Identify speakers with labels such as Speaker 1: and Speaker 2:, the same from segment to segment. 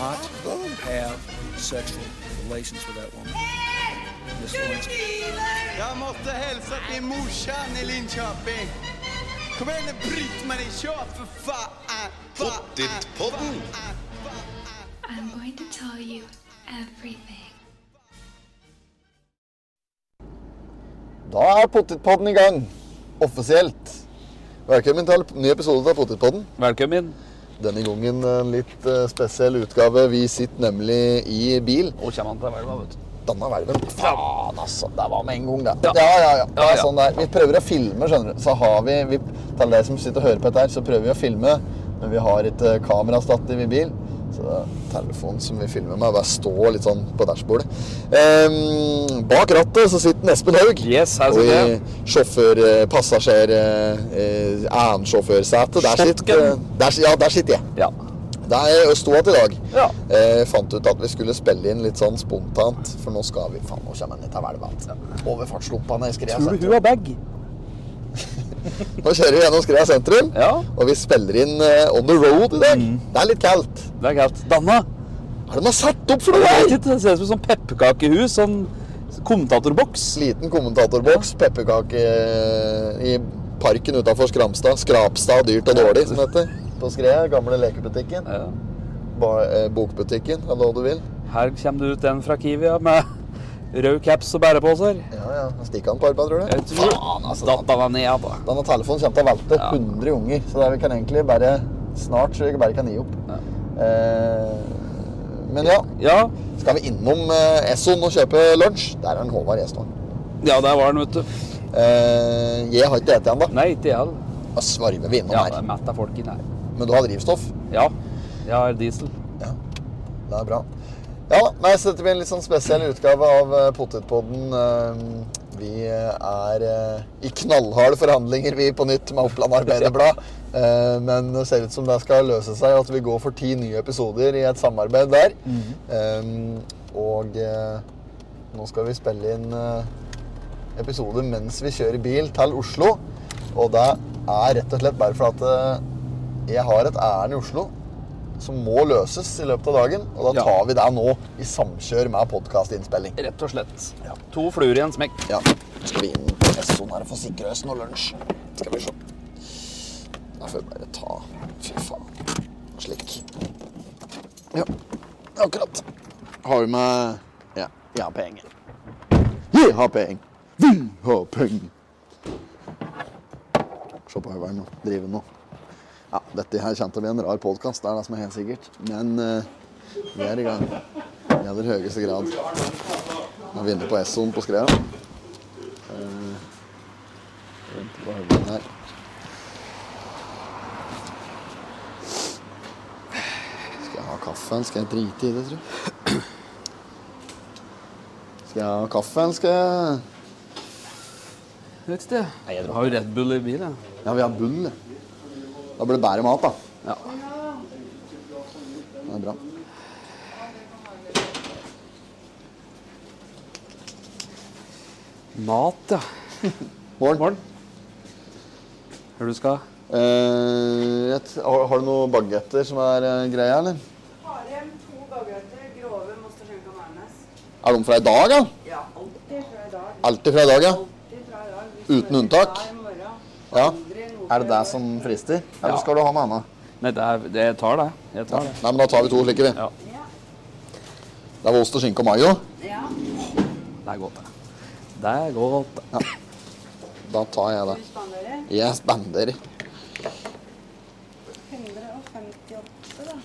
Speaker 1: not have sexual relations with that woman. Miss Lewinsky.
Speaker 2: Jeg måtte hilse til morsan i Linköping. Kom igjen, bryt meg ikke av, for faen!
Speaker 3: Pottit-podden.
Speaker 4: I'm going to tell you everything.
Speaker 5: Da er Pottitpodden i gang, offisielt. Velkommen til en ny episode av Pottitpodden.
Speaker 6: Velkommen.
Speaker 5: Denne gangen en litt eh, spesiell utgave. Vi sitter nemlig i bil.
Speaker 6: Og kommer han til verva, vet du.
Speaker 5: Danna hvelven. Faen, altså. Det var med en gang, det.
Speaker 6: Ja.
Speaker 5: Ja, ja, ja. Det
Speaker 6: Ja,
Speaker 5: er
Speaker 6: ja.
Speaker 5: sånn det er. Vi prøver å filme, skjønner du. Så har vi, vi Til deg som sitter og hører på dette, her, så prøver vi å filme. Men vi har ikke kamerastativ i bil. Så det er telefonen som vi filmer med, bare står litt sånn på dashbordet. Ehm, bak rattet så sitter Espen Haug.
Speaker 6: Yes, her
Speaker 5: Og
Speaker 6: sitter
Speaker 5: i
Speaker 6: jeg.
Speaker 5: sjåfør, eh, passasjer, eh, eh, annen sjåførsete, der sitter, eh, der, si- ja, der sitter jeg.
Speaker 6: Ja.
Speaker 5: Der sto jeg i dag.
Speaker 6: Ja.
Speaker 5: Eh, fant ut at vi skulle spille inn litt sånn spontant, for nå skal vi Faen, nå kommer jeg ned til hvelvet igjen. Over fartslumpene i Skrea
Speaker 6: Tror du
Speaker 5: sentrum.
Speaker 6: hun har bag?
Speaker 5: Nå kjører vi gjennom Skrea sentrum,
Speaker 6: Ja. Mm.
Speaker 5: og vi spiller inn eh, On the Road i dag. Det er litt kaldt.
Speaker 6: Det er galt. Danna!
Speaker 5: Hva er det de har satt opp for
Speaker 6: Jeg
Speaker 5: noe
Speaker 6: vet
Speaker 5: her?
Speaker 6: ikke, Det ser ut som sånn pepperkakehus. Sånn kommentatorboks.
Speaker 5: Liten kommentatorboks, pepperkake eh, i parken utafor Skramstad. Skrapstad dyrt og dårlig, som det heter. På Skrea, gamle lekebutikken.
Speaker 6: Ja.
Speaker 5: Ba- eh, Bokbutikken, eller hva du vil.
Speaker 6: Her kommer det ut en fra Kiwi ja, med rød caps og bæreposer.
Speaker 5: Ja, ja. Stikker han på arbeid, tror
Speaker 6: Jeg
Speaker 5: du?
Speaker 6: tror
Speaker 5: Faen, altså.
Speaker 6: Datt han ned, da.
Speaker 5: Denne telefonen kommer til å velte
Speaker 6: Ja.
Speaker 5: 100 unger, så det er- vi kan egentlig bare snart så vi bare kan gi opp.
Speaker 6: Ja.
Speaker 5: Eh, men ja,
Speaker 6: Ja.
Speaker 5: skal vi innom eh, Esson og kjøpe lunsj? Der er han Håvard Gjestvang.
Speaker 6: ja, der var han, vet du.
Speaker 5: Eh, jeg har ikke spist ennå.
Speaker 6: Nei, ikke jeg heller.
Speaker 5: Da svarver vi innom
Speaker 6: Ja, det
Speaker 5: her.
Speaker 6: er mett av folk inne her.
Speaker 5: Men du har drivstoff?
Speaker 6: Ja. Jeg har diesel.
Speaker 5: Ja, det er bra. Ja, nei, så dette blir en litt sånn spesiell utgave av eh, Potetpodden. Eh, Vi eh, er eh, i knallharde forhandlinger, vi, på nytt med Oppland Arbeiderblad. Eh, Men det ser ut som det skal løse seg, at vi går for ti nye episoder i et samarbeid der. Eh, Og eh, nå skal vi spille inn eh, episode mens vi kjører bil til Oslo. Og det er rett og slett bare fordi at eh, jeg har et ærend i Oslo som må løses i løpet av dagen. Og da
Speaker 6: Ja.
Speaker 5: tar vi det nå i samkjør med podkastinnspilling.
Speaker 6: Rett og slett. To fluer i en smekk.
Speaker 5: Ja. Nå skal vi inn på Essoen her og få sikre oss noe lunsj. Skal vi se. Da får vi bare ta Fy faen. Slik. Ja, akkurat. Har vi med Ja. Jeg har penger. Vi har penger. Vi har penger. Se på Øyvind nå. Drive nå. Ja, dette her kommer til å bli en rar podkast, det er det som er helt sikkert. Men eh, vi er i gang. I aller høyeste grad. Vi er vi inne på Essoen på Skrea. Venter på Øyvind her. Skal jeg ha kaffen? Skal jeg drite i det, tror du? Skal jeg ha kaffen? Skal jeg
Speaker 6: Vet ikke. Nei, jeg har jo Red Bull i bilen. jeg.
Speaker 5: Ja, vi har bunn. det. Da blir det bedre mat, da.
Speaker 6: Ja.
Speaker 5: Det er bra.
Speaker 6: Mat, ja.
Speaker 5: Morgen.
Speaker 6: Morgen. Hør du skal?
Speaker 5: Eh, jeg t- har, har du noen bagetter som er eh, greia, eller?
Speaker 7: Harem, to baguetter, grove Mostersenko Nærnes.
Speaker 5: Er de fra i dag, ja?
Speaker 7: Ja, alltid fra i dag.
Speaker 5: Alltid fra i dag, ja?
Speaker 7: Alltid fra i dag. Vi
Speaker 5: Uten
Speaker 7: smører
Speaker 5: unntak?
Speaker 7: hver morgen.
Speaker 5: ja.
Speaker 7: Aldri noe
Speaker 5: Er det
Speaker 7: fra
Speaker 5: det
Speaker 7: i dag.
Speaker 5: som frister? Eller
Speaker 6: Ja.
Speaker 5: skal du ha noe annet?
Speaker 6: Nei, det er, det, jeg tar det. Jeg tar det.
Speaker 5: Nei, men da tar vi to slike, vi.
Speaker 6: Ja.
Speaker 5: Det var ost og skinke og mayo.
Speaker 7: Ja,
Speaker 6: Det er godt, det. Det er godt. det.
Speaker 5: Da tar jeg det.
Speaker 7: du spanderer
Speaker 5: Jeg spanderer.
Speaker 7: 158, da.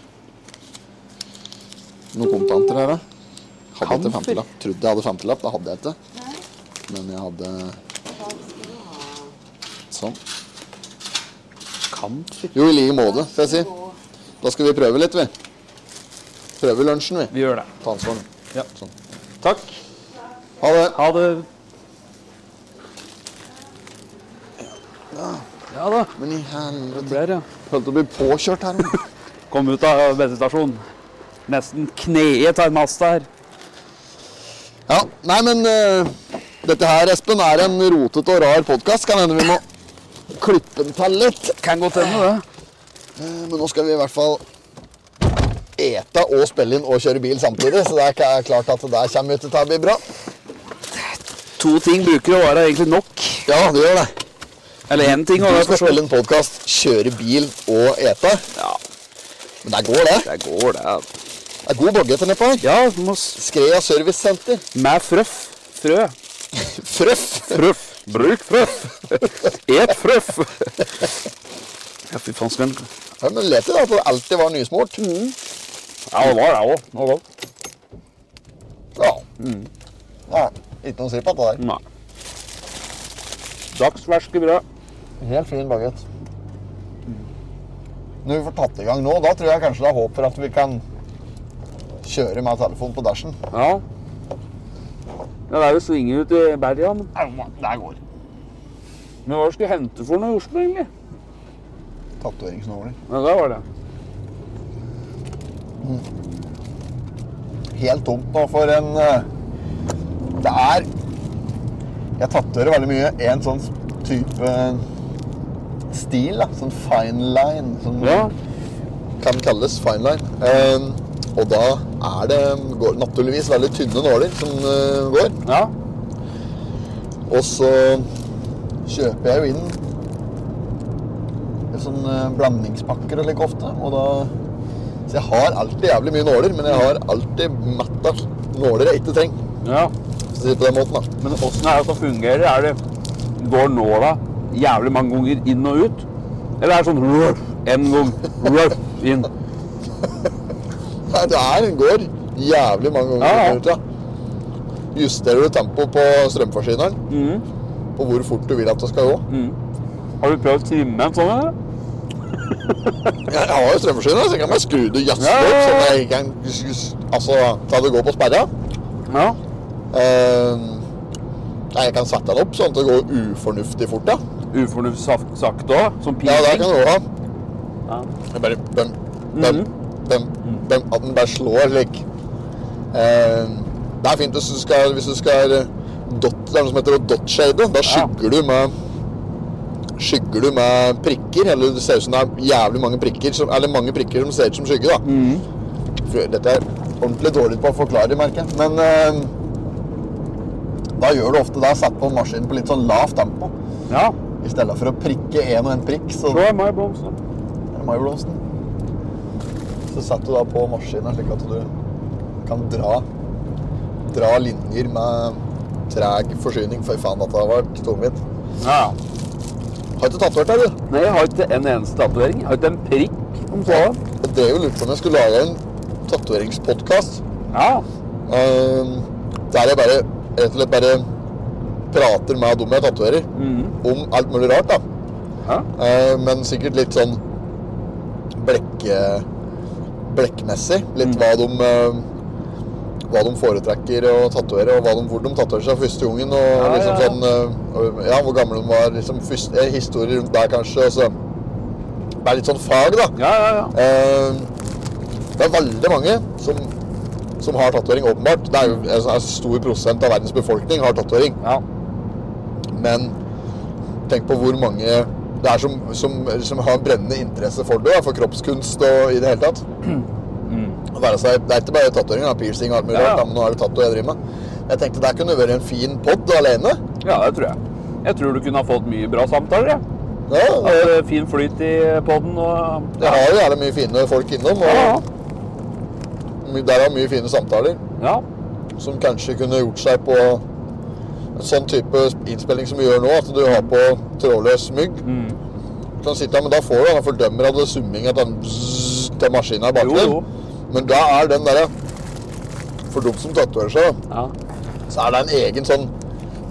Speaker 5: Noen kontanter her, da? Hadde jeg ikke
Speaker 6: Kamfer.
Speaker 5: femtilapp? Trodde jeg hadde femtilapp, det hadde jeg ikke.
Speaker 7: Nei.
Speaker 5: Men jeg hadde
Speaker 7: Hva skal du ha?
Speaker 5: sånn.
Speaker 6: Kamfer.
Speaker 5: Jo, i like måte, får jeg si. Da skal vi prøve litt, vi. Prøve lunsjen, vi.
Speaker 6: Vi gjør det.
Speaker 5: Ta ansvar nå.
Speaker 6: Ja.
Speaker 5: Sånn.
Speaker 6: Takk.
Speaker 5: Ha det.
Speaker 6: Ha det. Ja da.
Speaker 5: Men i helvete
Speaker 6: Blir det.
Speaker 5: Holdt på å bli påkjørt her. nå.
Speaker 6: Kom ut av bensinstasjonen. Nesten kneet tar masta her.
Speaker 5: Ja, nei, men eh, dette her, Espen, er en rotete og rar podkast. Kan hende vi må klippe den til litt.
Speaker 6: Kan godt hende, det.
Speaker 5: Eh, Men nå skal vi i hvert fall ete og spille inn og kjøre bil samtidig, så det er k- klart at det der kommer ut til å bli bra.
Speaker 6: To ting bruker å være egentlig nok.
Speaker 5: Ja, det gjør det.
Speaker 6: Eller én ting.
Speaker 5: Du
Speaker 6: Og det er
Speaker 5: skal
Speaker 6: for så
Speaker 5: spille inn podkast, kjøre bil og ete.
Speaker 6: Ja,
Speaker 5: Men der går det.
Speaker 6: det går, det.
Speaker 5: Det er god baggetter nedpå her.
Speaker 6: Ja, du må s-
Speaker 5: Skrea servicesenter.
Speaker 6: med frøff. Frø.
Speaker 5: Frøff.
Speaker 6: Frøff. Bruk frøff. Et frøff. Ja, fy faen, skal en
Speaker 5: Ja, men let i da, at det alltid var nysmurt.
Speaker 6: Ja, det var det òg.
Speaker 5: Ja. Mm. ja. Ikke noe å si på det der.
Speaker 6: Nei. Dagsferske brød.
Speaker 5: Helt fin bagett. Når vi får tatt i gang nå, da tror jeg kanskje det er håp for at vi kan kjøre med telefon på dashen.
Speaker 6: Ja. Ja, det er jo svinger ut i berga, men
Speaker 5: Der går
Speaker 6: men hva skulle jeg hente for noe i Oslo, egentlig?
Speaker 5: Tatoveringsnåler.
Speaker 6: Ja, det var det.
Speaker 5: Helt tomt nå for en eh, Det er Jeg tatoverer veldig mye en sånn type eh, stil. da, Sånn fine line. Sånn,
Speaker 6: Ja.
Speaker 5: Kan kalles fine line. Eh, og da er det går, naturligvis veldig tynne nåler som eh, går.
Speaker 6: ja.
Speaker 5: Og så kjøper jeg jo inn sånne blandingspakker like ofte, og da Så jeg har alltid jævlig mye nåler, men jeg har alltid matta nåler jeg ikke trenger.
Speaker 6: ja.
Speaker 5: Hvis du sier det på den måten, da.
Speaker 6: Men åssen er det at det fungerer? Er det, går nåla jævlig mange ganger inn og ut? Eller er det sånn ruff, en gang ruff, inn?
Speaker 5: Nei, Det er, går jævlig mange ganger.
Speaker 6: Ja, ja.
Speaker 5: i minutter, ja. Justerer du tempoet på strømforsyneren,
Speaker 6: Mm,
Speaker 5: på hvor fort du vil at det skal gå.
Speaker 6: Har du prøvd å trimme en sånn? eller?
Speaker 5: Jeg, jeg har jo strømforsyner, så jeg kan bare skru det jazz
Speaker 6: Ja, ja,
Speaker 5: opp,
Speaker 6: ja.
Speaker 5: sånn at jeg kan Altså, ta det går på sperra.
Speaker 6: Ja.
Speaker 5: Eh, Nei, jeg kan sette den opp sånn at det går ufornuftig fort, ja.
Speaker 6: Ufornuftig sak- sakte òg? Som
Speaker 5: Ja, det kan
Speaker 6: piling?
Speaker 5: du også ha.
Speaker 6: Ja.
Speaker 5: Jeg bare bøm, bøm, bøm, bøm, at den bare slår slik. Eh, det er fint hvis du skal, hvis du skal eh, dot, Det er noe som heter å dotshade. Da skygger du med Skygger du med prikker, eller det ser ut som det er jævlig mange prikker som, Eller mange prikker som ser ut som skygge, da.
Speaker 6: Mm.
Speaker 5: For Dette er ordentlig dårlig på å forklare, merker jeg. Men eh, da gjør du ofte det. Sett på maskinen på litt sånn lavt tempo.
Speaker 6: ja.
Speaker 5: I stedet for å prikke én og én prikk, så
Speaker 6: Så er meg blomster.
Speaker 5: er det Myblomsten. Så setter du da på maskinen slik at du kan dra, dra linjer med treg forsyning. For faen, dette har vært tungvint.
Speaker 6: Ja.
Speaker 5: Har ikke tatovert deg, du?
Speaker 6: Nei, jeg har ikke en eneste tatovering. Jeg har ikke en prikk om sånn.
Speaker 5: Jeg drev og lurte på om jeg skulle lage en tatoveringspodkast.
Speaker 6: Ja.
Speaker 5: Um, der jeg bare rett og slett bare prater med dem jeg tatoverer,
Speaker 6: Mhm.
Speaker 5: om alt mulig rart. da.
Speaker 6: ja.
Speaker 5: Eh, men sikkert litt sånn blekk, blekkmessig. Litt
Speaker 6: Mm.
Speaker 5: hva de eh, hva de foretrekker å tatovere, og hva de, hvor de tatoverer seg første gangen. Og
Speaker 6: Ja,
Speaker 5: liksom
Speaker 6: ja, ja.
Speaker 5: sånn eh, og, Ja, hvor gamle de var. Liksom først- eh, historier rundt der, kanskje. Og så det er litt sånn fag, da.
Speaker 6: Ja, ja, ja.
Speaker 5: Eh, det er veldig mange som, som har tatovering, åpenbart. Det er jo en sånn- en stor prosent av verdens befolkning har tatovering.
Speaker 6: ja.
Speaker 5: Men tenk på hvor mange det er som, som, som har brennende interesse for det, da, for kroppskunst og i det hele tatt.
Speaker 6: Mm.
Speaker 5: Å Være seg, det er ikke bare tatovering, det er piercing og alt mulig
Speaker 6: Ja, ja.
Speaker 5: rart, da, men nå er det tattoo jeg driver med. Jeg tenkte der kunne vært en fin pod alene.
Speaker 6: Ja, det tror jeg. Jeg tror du kunne ha fått mye bra samtaler. jeg.
Speaker 5: Ja,
Speaker 6: Ja, det er fin flyt i podden. Og...
Speaker 5: jeg har jo gjerne mye fine folk innom,
Speaker 6: Ja, ja.
Speaker 5: og my- der er mye fine samtaler
Speaker 6: ja.
Speaker 5: som kanskje kunne gjort seg på en sånn type innspilling som vi gjør nå, at du har på trådløs mygg.
Speaker 6: Mm.
Speaker 5: Kan sitte her, men da får du den fordømmer av det summing at den zzz til maskinen er bak
Speaker 6: Jo,
Speaker 5: deg.
Speaker 6: jo.
Speaker 5: Men da er den derre For dem som tatoverer seg, da,
Speaker 6: ja.
Speaker 5: så er det en egen sånn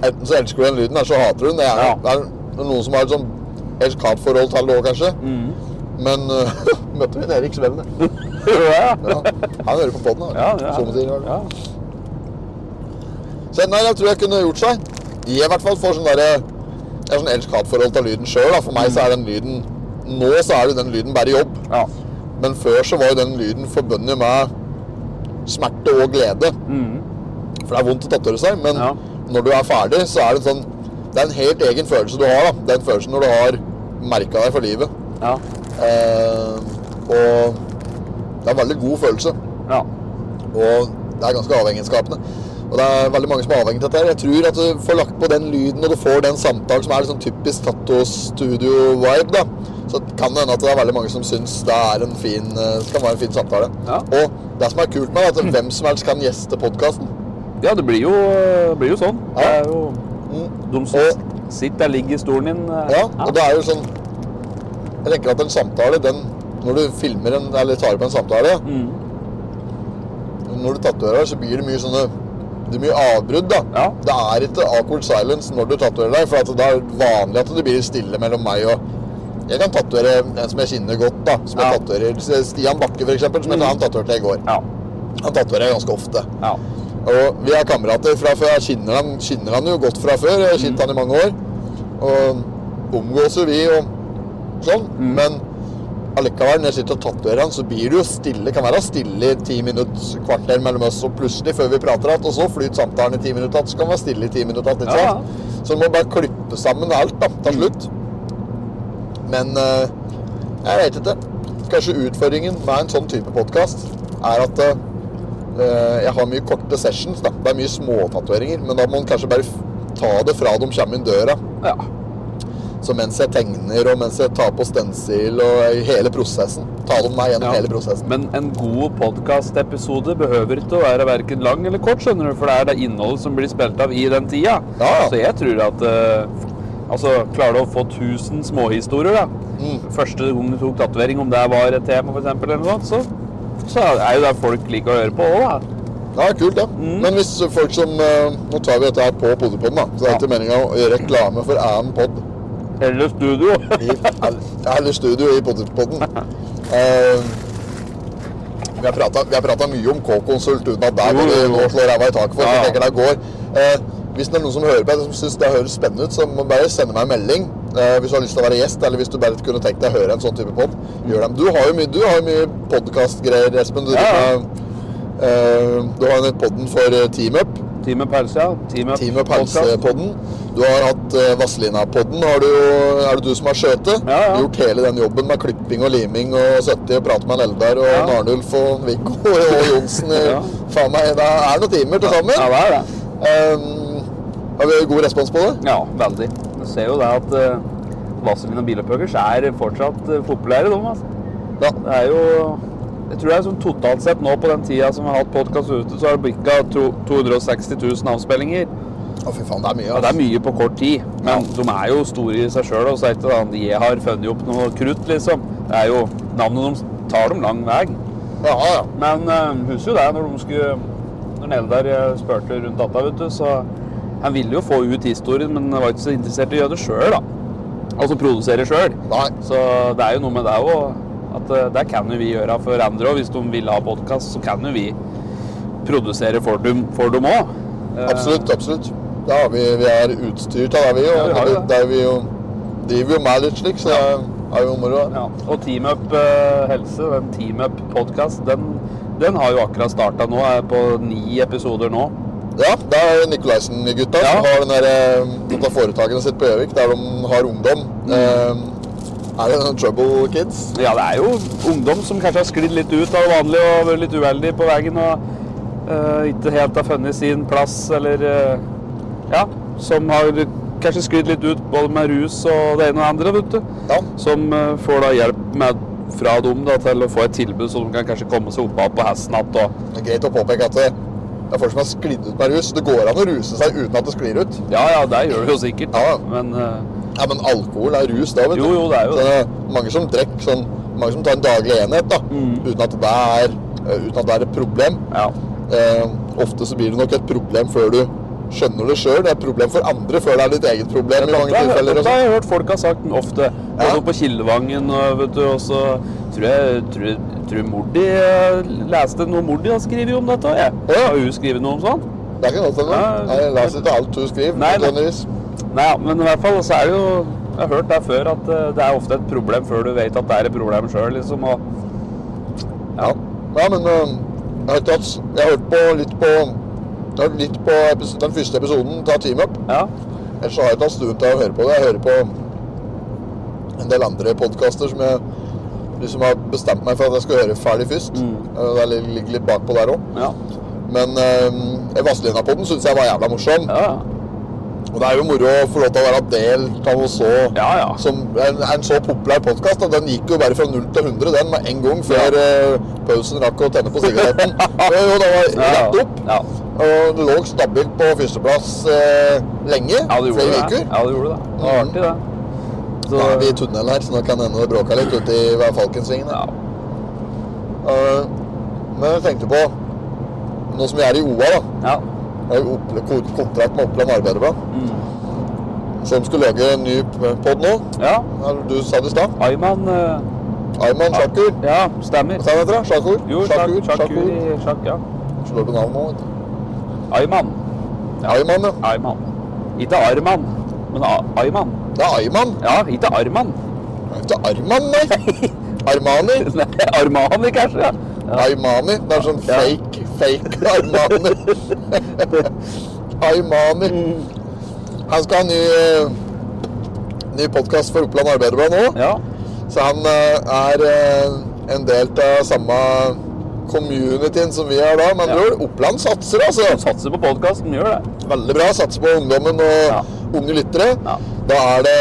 Speaker 5: Enten så elsker du den lyden, eller så hater du den. Det er,
Speaker 6: Ja.
Speaker 5: det er noen som har et sånn helt forhold til det òg, kanskje.
Speaker 6: Mm.
Speaker 5: Men uh, møtte vi en Erik Svevne.
Speaker 6: Ja, Sånn
Speaker 5: Ja, han hører på poden.
Speaker 6: ja, det er-
Speaker 5: Som sier, i hvert fall.
Speaker 6: ja.
Speaker 5: Så nei, jeg tror jeg kunne gjort seg. Jeg i hvert fall får sånn derre Jeg har sånn elsk-hat-forhold til lyden sjøl. For meg så er den lyden Nå så er jo den lyden bare jobb.
Speaker 6: ja.
Speaker 5: Men før så var jo den lyden forbundet med smerte og glede. For det er vondt å tatovere seg, men
Speaker 6: Ja.
Speaker 5: når du er ferdig, så er det en sånn Det er en helt egen følelse du har. da. Den følelsen når du har merka deg for livet.
Speaker 6: ja.
Speaker 5: Eh, og det er en veldig god følelse.
Speaker 6: Ja.
Speaker 5: Og det er ganske avhengighetsskapende. Og det er veldig mange som er avhengig av dette. her. Jeg tror at du får lagt på den lyden, og du får den samtalen som er liksom typisk Tatto-studio-vibe, da. Så kan det hende at det er veldig mange som syns det er en fin, eh, det kan være en fin samtale.
Speaker 6: Ja.
Speaker 5: Og det som er kult med det, er at hvem som helst kan gjeste podkasten.
Speaker 6: ja, det blir jo, blir jo sånn. Det
Speaker 5: Ja.
Speaker 6: er jo de
Speaker 5: Og-
Speaker 6: som sitter der, ligger i stolen din. eh,
Speaker 5: Ja, og det er jo sånn Jeg tenker at en samtale, den Når du filmer en, eller tar opp en samtale
Speaker 6: Mm.
Speaker 5: Når du tatoverer deg, så blir det mye sånne Det er mye avbrudd, da.
Speaker 6: Ja.
Speaker 5: Det er ikke awkward silence når du tatoverer deg, for at det er vanlig at det blir stille mellom meg og jeg kan tatovere en som jeg kjenner godt. da, som
Speaker 6: Ja.
Speaker 5: jeg tatoverer. Stian Bakke, for eksempel, som jeg
Speaker 6: Mm.
Speaker 5: han tatoverte i går.
Speaker 6: Ja.
Speaker 5: Han tatoverer jeg ganske ofte.
Speaker 6: ja.
Speaker 5: Og vi er kamerater fra før. Jeg kjenner han, kjenner han jo godt fra før. Jeg har kjent han i mange år. Og omgås jo vi og sånn.
Speaker 6: Mm.
Speaker 5: Men allikevel, når jeg sitter og tatoverer han, så blir det jo stille. Kan være stille i ti minutter, kvarter mellom oss, og plutselig, før vi prater igjen, og så flyter samtalen i ti minutter igjen, så kan det være stille i ti minutter igjen. ikke
Speaker 6: Ja, Mm.
Speaker 5: sant? Så du må bare klippe sammen alt, da, til slutt. Men eh, jeg vet ikke. Kanskje utfordringen med en sånn type podkast er at eh, Eh, Jeg har mye korte sessions. da. Det er mye småtatoveringer. Men da må man kanskje bare f- ta det fra de kommer inn døra.
Speaker 6: ja.
Speaker 5: Så mens jeg tegner, og mens jeg tar på stensil og i hele prosessen. Ta dem med gjennom
Speaker 6: Ja.
Speaker 5: hele prosessen.
Speaker 6: Men en god podkastepisode behøver ikke å være verken lang eller kort, skjønner du, for det er det innholdet som blir spilt av i den tida.
Speaker 5: Ja.
Speaker 6: Så jeg tror at eh, Altså, klarer du å få 1000 småhistorier, da.
Speaker 5: Mm.
Speaker 6: Første gang du tok tatovering, om det var et tema, for eksempel, eller noe sånt, så, så er jo det folk liker å høre på òg, da.
Speaker 5: Ja, kult, ja.
Speaker 6: Mm.
Speaker 5: Men hvis folk som eh, Nå tar vi dette her på Podipodden, da. Så det er
Speaker 6: Ja.
Speaker 5: ikke meninga å gjøre reklame for annen pod
Speaker 6: Eller studio.
Speaker 5: i eller studio i Podipodden. Eh, vi har prata- vi har prata mye om K-konsult uten at der
Speaker 6: Jo,
Speaker 5: kan du
Speaker 6: jo, jo.
Speaker 5: nå slå ræva i taket for.
Speaker 6: Ja,
Speaker 5: Jeg
Speaker 6: ja.
Speaker 5: tenker det går. Eh, hvis det er noen som hører på deg som syns det høres spennende ut, så må du bare sende meg en melding. Eh, hvis du har lyst til å være gjest, eller hvis du bare kunne tenkt deg å høre en sånn type pod. Gjør det. Du har jo mye, du har jo mye podkastgreier, Espen. Du,
Speaker 6: Ja, ja.
Speaker 5: driver med, eh, du har den podden for eh, Team Up.
Speaker 6: Team med pause, ja. Team med
Speaker 5: Team Up
Speaker 6: podcast.
Speaker 5: Helse-podden. Du har hatt eh, Vazelina-podden. Har du, er det du som har skjøtet?
Speaker 6: Ja, ja.
Speaker 5: Gjort hele den jobben med klipping og liming og 70 og prate med en Eldar og
Speaker 6: Ja.
Speaker 5: Arnulf og Viggo og Johnsen. i-
Speaker 6: Ja.
Speaker 5: Faen meg, det er noen timer til sammen.
Speaker 6: Ja, det er det.
Speaker 5: Um, har vi god respons på det?
Speaker 6: Ja, veldig. Du ser jo det at uh, Vazelin og Bilopphøggers er fortsatt eh, populære, de. Altså.
Speaker 5: Ja.
Speaker 6: Det er jo Jeg tror det er sånn totalt sett nå på den tida som vi har hatt podkast ute, så har det bikka to- 260 000 avspillinger.
Speaker 5: Å, fy faen, det er mye.
Speaker 6: Ja, det er
Speaker 5: altså.
Speaker 6: mye på kort tid, men de er jo store i seg sjøl. Og så er det ikke sånn at jeg har funnet opp noe krutt, liksom. Det er jo Navnet deres tar dem lang vei.
Speaker 5: Ja, ja.
Speaker 6: Men uh, husker jo det, når de skulle Når Eldar eh, spurte rundt data, vet du, så Han ville jo få ut historien, men han var ikke så interessert i å gjøre det sjøl, da. Altså produsere sjøl.
Speaker 5: Nei.
Speaker 6: Så det er jo noe med det òg. At eh, det kan jo vi gjøre for andre òg. Hvis de vil ha podkast, så kan jo vi produsere for dem for dem Eh, òg.
Speaker 5: Absolutt, absolutt. Ja, vi, vi er utstyrt av det, vi.
Speaker 6: Ja,
Speaker 5: Og
Speaker 6: vi har
Speaker 5: det,
Speaker 6: jo det.
Speaker 5: er vi jo driver jo med litt slik, så det er jo moro. da.
Speaker 6: Ja. Og Team Up eh, Helse, den Team Up podkast, den, den har jo akkurat starta nå. Er på ni episoder nå.
Speaker 5: Ja, det er Nikolaisen-gutta
Speaker 6: Ja.
Speaker 5: som har den der, eh, dette foretaket sitt på Gjøvik, der de har ungdom.
Speaker 6: Mm.
Speaker 5: Eh, er det noen Trouble Kids?
Speaker 6: Ja, det er jo ungdom som kanskje har sklidd litt ut av det vanlige og vært litt uheldig på veien og eh, ikke helt har funnet sin plass, eller eh, Ja, som har kanskje sklidd litt ut både med rus og det ene og det andre, vet du.
Speaker 5: Ja.
Speaker 6: Som eh, får da hjelp med, fra dem da, til å få et tilbud, så de kan kanskje komme seg opp av på hesten igjen. og-
Speaker 5: Det er greit å påpeke at det det er folk som har sklidd ut med rus. Det går an å ruse seg uten at det sklir ut.
Speaker 6: Ja, ja, det gjør det jo sikkert.
Speaker 5: Ja.
Speaker 6: Men eh,
Speaker 5: Ja, men alkohol er rus, det, vet du.
Speaker 6: jo, jo, det er jo
Speaker 5: Så
Speaker 6: det.
Speaker 5: det er mange som drikker sånn Mange som tar en daglig enhet, da.
Speaker 6: Mm.
Speaker 5: Uten, at det er, eh, uten at det er et problem.
Speaker 6: Ja.
Speaker 5: Eh, ofte så blir det nok et problem før du skjønner det sjøl. Det er et problem for andre før det er ditt eget problem. i mange
Speaker 6: Dette har-
Speaker 5: tilfeller. og
Speaker 6: dette
Speaker 5: sånn.
Speaker 6: har jeg hørt folk har sagt ofte. Både
Speaker 5: Ja.
Speaker 6: på Kildevangen og vet du, og så tror jeg, tror, tror Mordi eh, leste noe Mordi har skrevet om dette. Jeg.
Speaker 5: Å, ja.
Speaker 6: Har hun skrevet noe om sånt?
Speaker 5: Det kan godt hende.
Speaker 6: Ja,
Speaker 5: Nei, Jeg leser ikke alt du skriver.
Speaker 6: Nei, nei.
Speaker 5: nødvendigvis.
Speaker 6: Nei, ja, men i hvert fall så er det jo Jeg har hørt det før at eh, det er ofte et problem før du vet at det er et problem sjøl, liksom. Og,
Speaker 5: Ja. Nei, men øh, jeg har ikke hatt s- Jeg har hørt på litt på jeg har hørt litt på epis- den første episoden av Team Up.
Speaker 6: ja.
Speaker 5: Ellers så har jeg ikke hatt stund til å høre på det. Jeg hører på en del andre podkaster som jeg liksom har bestemt meg for at jeg skal høre ferdig først.
Speaker 6: Mm.
Speaker 5: Eh, Det ligger- ligger litt bakpå der òg.
Speaker 6: Ja.
Speaker 5: Men eh, Vazelina-podden syns jeg var jævla morsom.
Speaker 6: Ja,
Speaker 5: Og det er jo moro å få lov til å være del av noe så
Speaker 6: ja. ja.
Speaker 5: som en, en så populær podkast. Den gikk jo bare fra 0 til 100 den med en gang før eh, pausen rakk å tenne på sigaretten. Og jo, det var
Speaker 6: Ja, ja.
Speaker 5: rett opp.
Speaker 6: Ja.
Speaker 5: Og det lå stabilt på førsteplass eh, lenge.
Speaker 6: Ja, du gjorde
Speaker 5: flere
Speaker 6: det.
Speaker 5: uker.
Speaker 6: Ja, du gjorde det. Det var artig, det. Så,
Speaker 5: Nå er vi i tunnelen her, så nå kan det hende det bråka litt ute i Falkensvingen.
Speaker 6: ja.
Speaker 5: Eh, men jeg tenkte på Nå som jeg er i OA, da.
Speaker 6: ja.
Speaker 5: Jeg har jo opple- ko- kontrakt med Oppland Arbeiderblad,
Speaker 6: Mm.
Speaker 5: som skulle lage en ny pod nå.
Speaker 6: Ja,
Speaker 5: Eller Du sa det i stad.
Speaker 6: Ayman eh,
Speaker 5: Ayman Shakur.
Speaker 6: Ja, stemmer.
Speaker 5: Hva sa han heter? da? Shakur?
Speaker 6: Jo, sjakk,
Speaker 5: Shakur.
Speaker 6: sjakk,
Speaker 5: Shakur.
Speaker 6: i- sjakk, ja.
Speaker 5: Slår du navnet nå? vet du?
Speaker 6: Ayman.
Speaker 5: Ayman, ja.
Speaker 6: Ayman. Ikke Arman, men A Ayman.
Speaker 5: Det er Ayman.
Speaker 6: Ja, ikke Arman.
Speaker 5: Det er ikke Arman, nei. Armani.
Speaker 6: Nei, Armani, kanskje. ja. Ja.
Speaker 5: Aymani. Det er sånn
Speaker 6: Ja.
Speaker 5: fake, fake Armani. Aymani.
Speaker 6: Mm.
Speaker 5: Han skal ha ny, eh, ny podkast for Oppland Arbeiderblad nå.
Speaker 6: ja.
Speaker 5: Så han eh, er eh, en del av samme communityen som vi er da. Men
Speaker 6: Ja.
Speaker 5: bror, Oppland satser,
Speaker 6: Han
Speaker 5: altså.
Speaker 6: satser på podkasten, gjør det.
Speaker 5: Veldig bra. Satser på ungdommen og
Speaker 6: Ja.
Speaker 5: unge lyttere.
Speaker 6: Ja.
Speaker 5: Da er det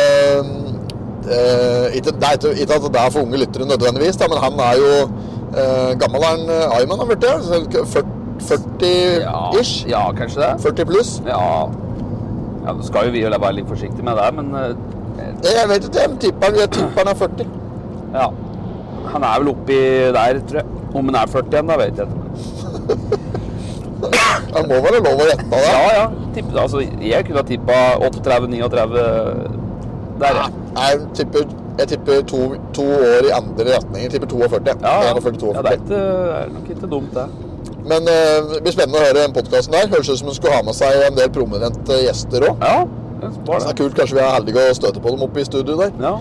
Speaker 5: eh, ikke, det er ikke, ikke at det er for unge lyttere nødvendigvis, da, men han er jo eh, gammel er han eh, Ayman har blitt, ja. Så 40 ish.
Speaker 6: ja kanskje det.
Speaker 5: 40 pluss.
Speaker 6: Ja. ja Nå skal jo vi være litt forsiktige med det, men eh,
Speaker 5: Nei, Jeg vet ikke, jeg tipper han- jeg tipper han er 40.
Speaker 6: Ja. Han er vel oppi der, tror jeg. Om han er 40 igjen, da vet jeg ikke.
Speaker 5: Det må være lov å gjette det.
Speaker 6: Ja, ja. Tipp- altså, jeg kunne ha tippa 38-39 eh, der, ja.
Speaker 5: Jeg tipper, jeg tipper to, to år i andre retning. Jeg tipper 42.
Speaker 6: Ja, ja.
Speaker 5: 41,
Speaker 6: ja det,
Speaker 5: 42.
Speaker 6: er ikke, det er nok ikke dumt, det.
Speaker 5: Men eh, det blir spennende å høre den podkasten der. Høres ut som hun skulle ha med seg en del prominente gjester òg.
Speaker 6: Ja, det
Speaker 5: Det
Speaker 6: var
Speaker 5: er
Speaker 6: det.
Speaker 5: kult, kanskje vi er heldige og støter på dem oppe i studio der.
Speaker 6: Ja.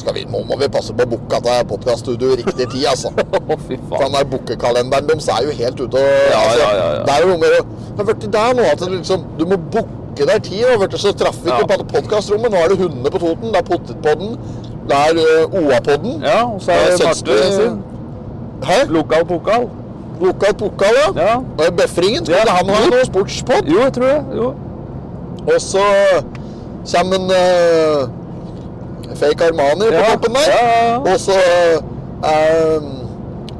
Speaker 5: Skal vi, nå må vi passe på å booke dette podkaststudioet i riktig tid, altså.
Speaker 6: Å, fy
Speaker 5: For den
Speaker 6: faen.
Speaker 5: der bookekalenderen deres er jo helt ute og
Speaker 6: Ja,
Speaker 5: altså,
Speaker 6: ja, ja, ja.
Speaker 5: Det er jo noe med å Det har blitt der nå at det liksom, du må booke deg tid. og vet du, Så traff vi
Speaker 6: Ja.
Speaker 5: ikke på podkastrommet. Nå er det hundene på Toten, det er Potetpodden, det er eh, OA-podden.
Speaker 6: Ja, og så er det Marte sin.
Speaker 5: Hæ?
Speaker 6: Lokal pokal.
Speaker 5: Lokal pokal, ja.
Speaker 6: Ja.
Speaker 5: Og Befringen, skulle
Speaker 6: Ja.
Speaker 5: han ha noe sportspod?
Speaker 6: Jo, jeg tror det. Jo.
Speaker 5: Og så kommer en eh, fake Armani på
Speaker 6: Ja,
Speaker 5: toppen der.
Speaker 6: ja, ja, ja.
Speaker 5: Og så eh,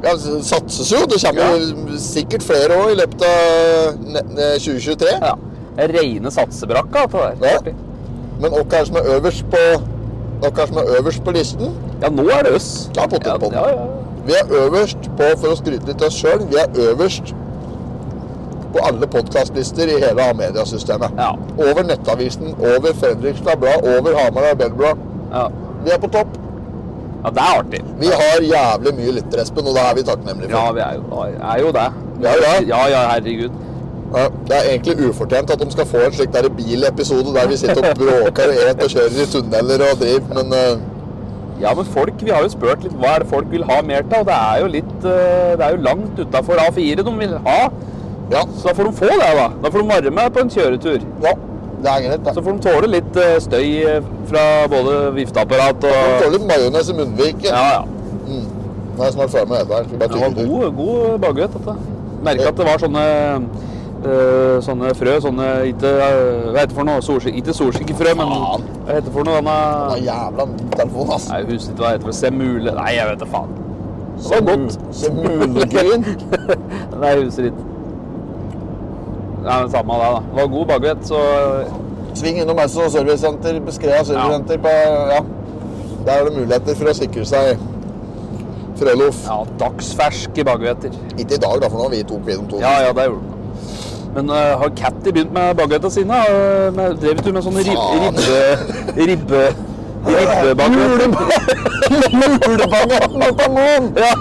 Speaker 5: ja, det satses jo. Det kommer jo sikkert flere år i løpet av ne- ne- 2023.
Speaker 6: Ja. Reine satsebrakka, dette
Speaker 5: Ja.
Speaker 6: der.
Speaker 5: Men hvem er det som er øverst på dere som er øverst på listen?
Speaker 6: Ja, nå er det øss.
Speaker 5: Ja, potetpodden.
Speaker 6: Ja, ja, ja.
Speaker 5: Vi er øverst på, for å skryte litt av oss sjøl, vi er øverst på alle podkastlister i hele A-mediasystemet.
Speaker 6: Ja.
Speaker 5: Over Nettavisen, over Fredrikstad Blad, over Hamar Arbeiderblad.
Speaker 6: Ja.
Speaker 5: Vi er på topp.
Speaker 6: ja, det er artig.
Speaker 5: Vi har jævlig mye lyttere, Espen, og det er vi takknemlige
Speaker 6: Ja,
Speaker 5: for.
Speaker 6: vi er jo, er jo det.
Speaker 5: Vi er jo det.
Speaker 6: Ja, ja, herregud.
Speaker 5: Ja, Det er egentlig ufortjent at de skal få en slik der bilepisode der vi sitter og bråker og et og kjører i tunneler og driver, men eh,
Speaker 6: Ja, men folk, vi har jo spurt litt hva er det folk vil ha mer til, og det er jo litt eh, Det er jo langt utafor A4 de vil ha.
Speaker 5: ja.
Speaker 6: Så da får de få det, da. Da får de være med på en kjøretur.
Speaker 5: ja. Det er greit,
Speaker 6: Så
Speaker 5: det.
Speaker 6: får de tåle litt eh, støy eh, fra både vifteapparat
Speaker 5: Du får
Speaker 6: og
Speaker 5: litt majones i munnviken.
Speaker 6: Ja, ja.
Speaker 5: Nå er jeg snart ferdig med dette her. Skal bare
Speaker 6: Det var
Speaker 5: tygge litt.
Speaker 6: god, god baguett, dette. Merka at det var sånne eh, sånne frø, sånne ikke eh, Hva heter det for noe? Solsik ikke solsikkefrø, men
Speaker 5: Faen.
Speaker 6: hva heter det for noe?
Speaker 5: Det var
Speaker 6: Denne
Speaker 5: jævla telefon, ass.
Speaker 6: Nei, jeg husker ikke hva det heter. for noe. Semule? Nei, jeg vet da faen.
Speaker 5: Det var godt. Mulegryn.
Speaker 6: Nei, jeg husker ikke. Nei, men samme av det, da. Det var god baguett, så
Speaker 5: Sving innom Ausso servicesenter, Skrea servicesenter på Ja. Der er det muligheter for å sikre seg frøloff.
Speaker 6: ja, dagsferske baguetter.
Speaker 5: Ikke i dag, da, for nå har vi tok videoen to.
Speaker 6: Ja, ja, det gjorde den. Men eh, har Catty begynt med baguetta sine? Uh, med, drev du med sånne rib,
Speaker 5: Faen.
Speaker 6: ribbe... ribbe... Ribbebaguetter?
Speaker 5: Julebanan!
Speaker 6: ja.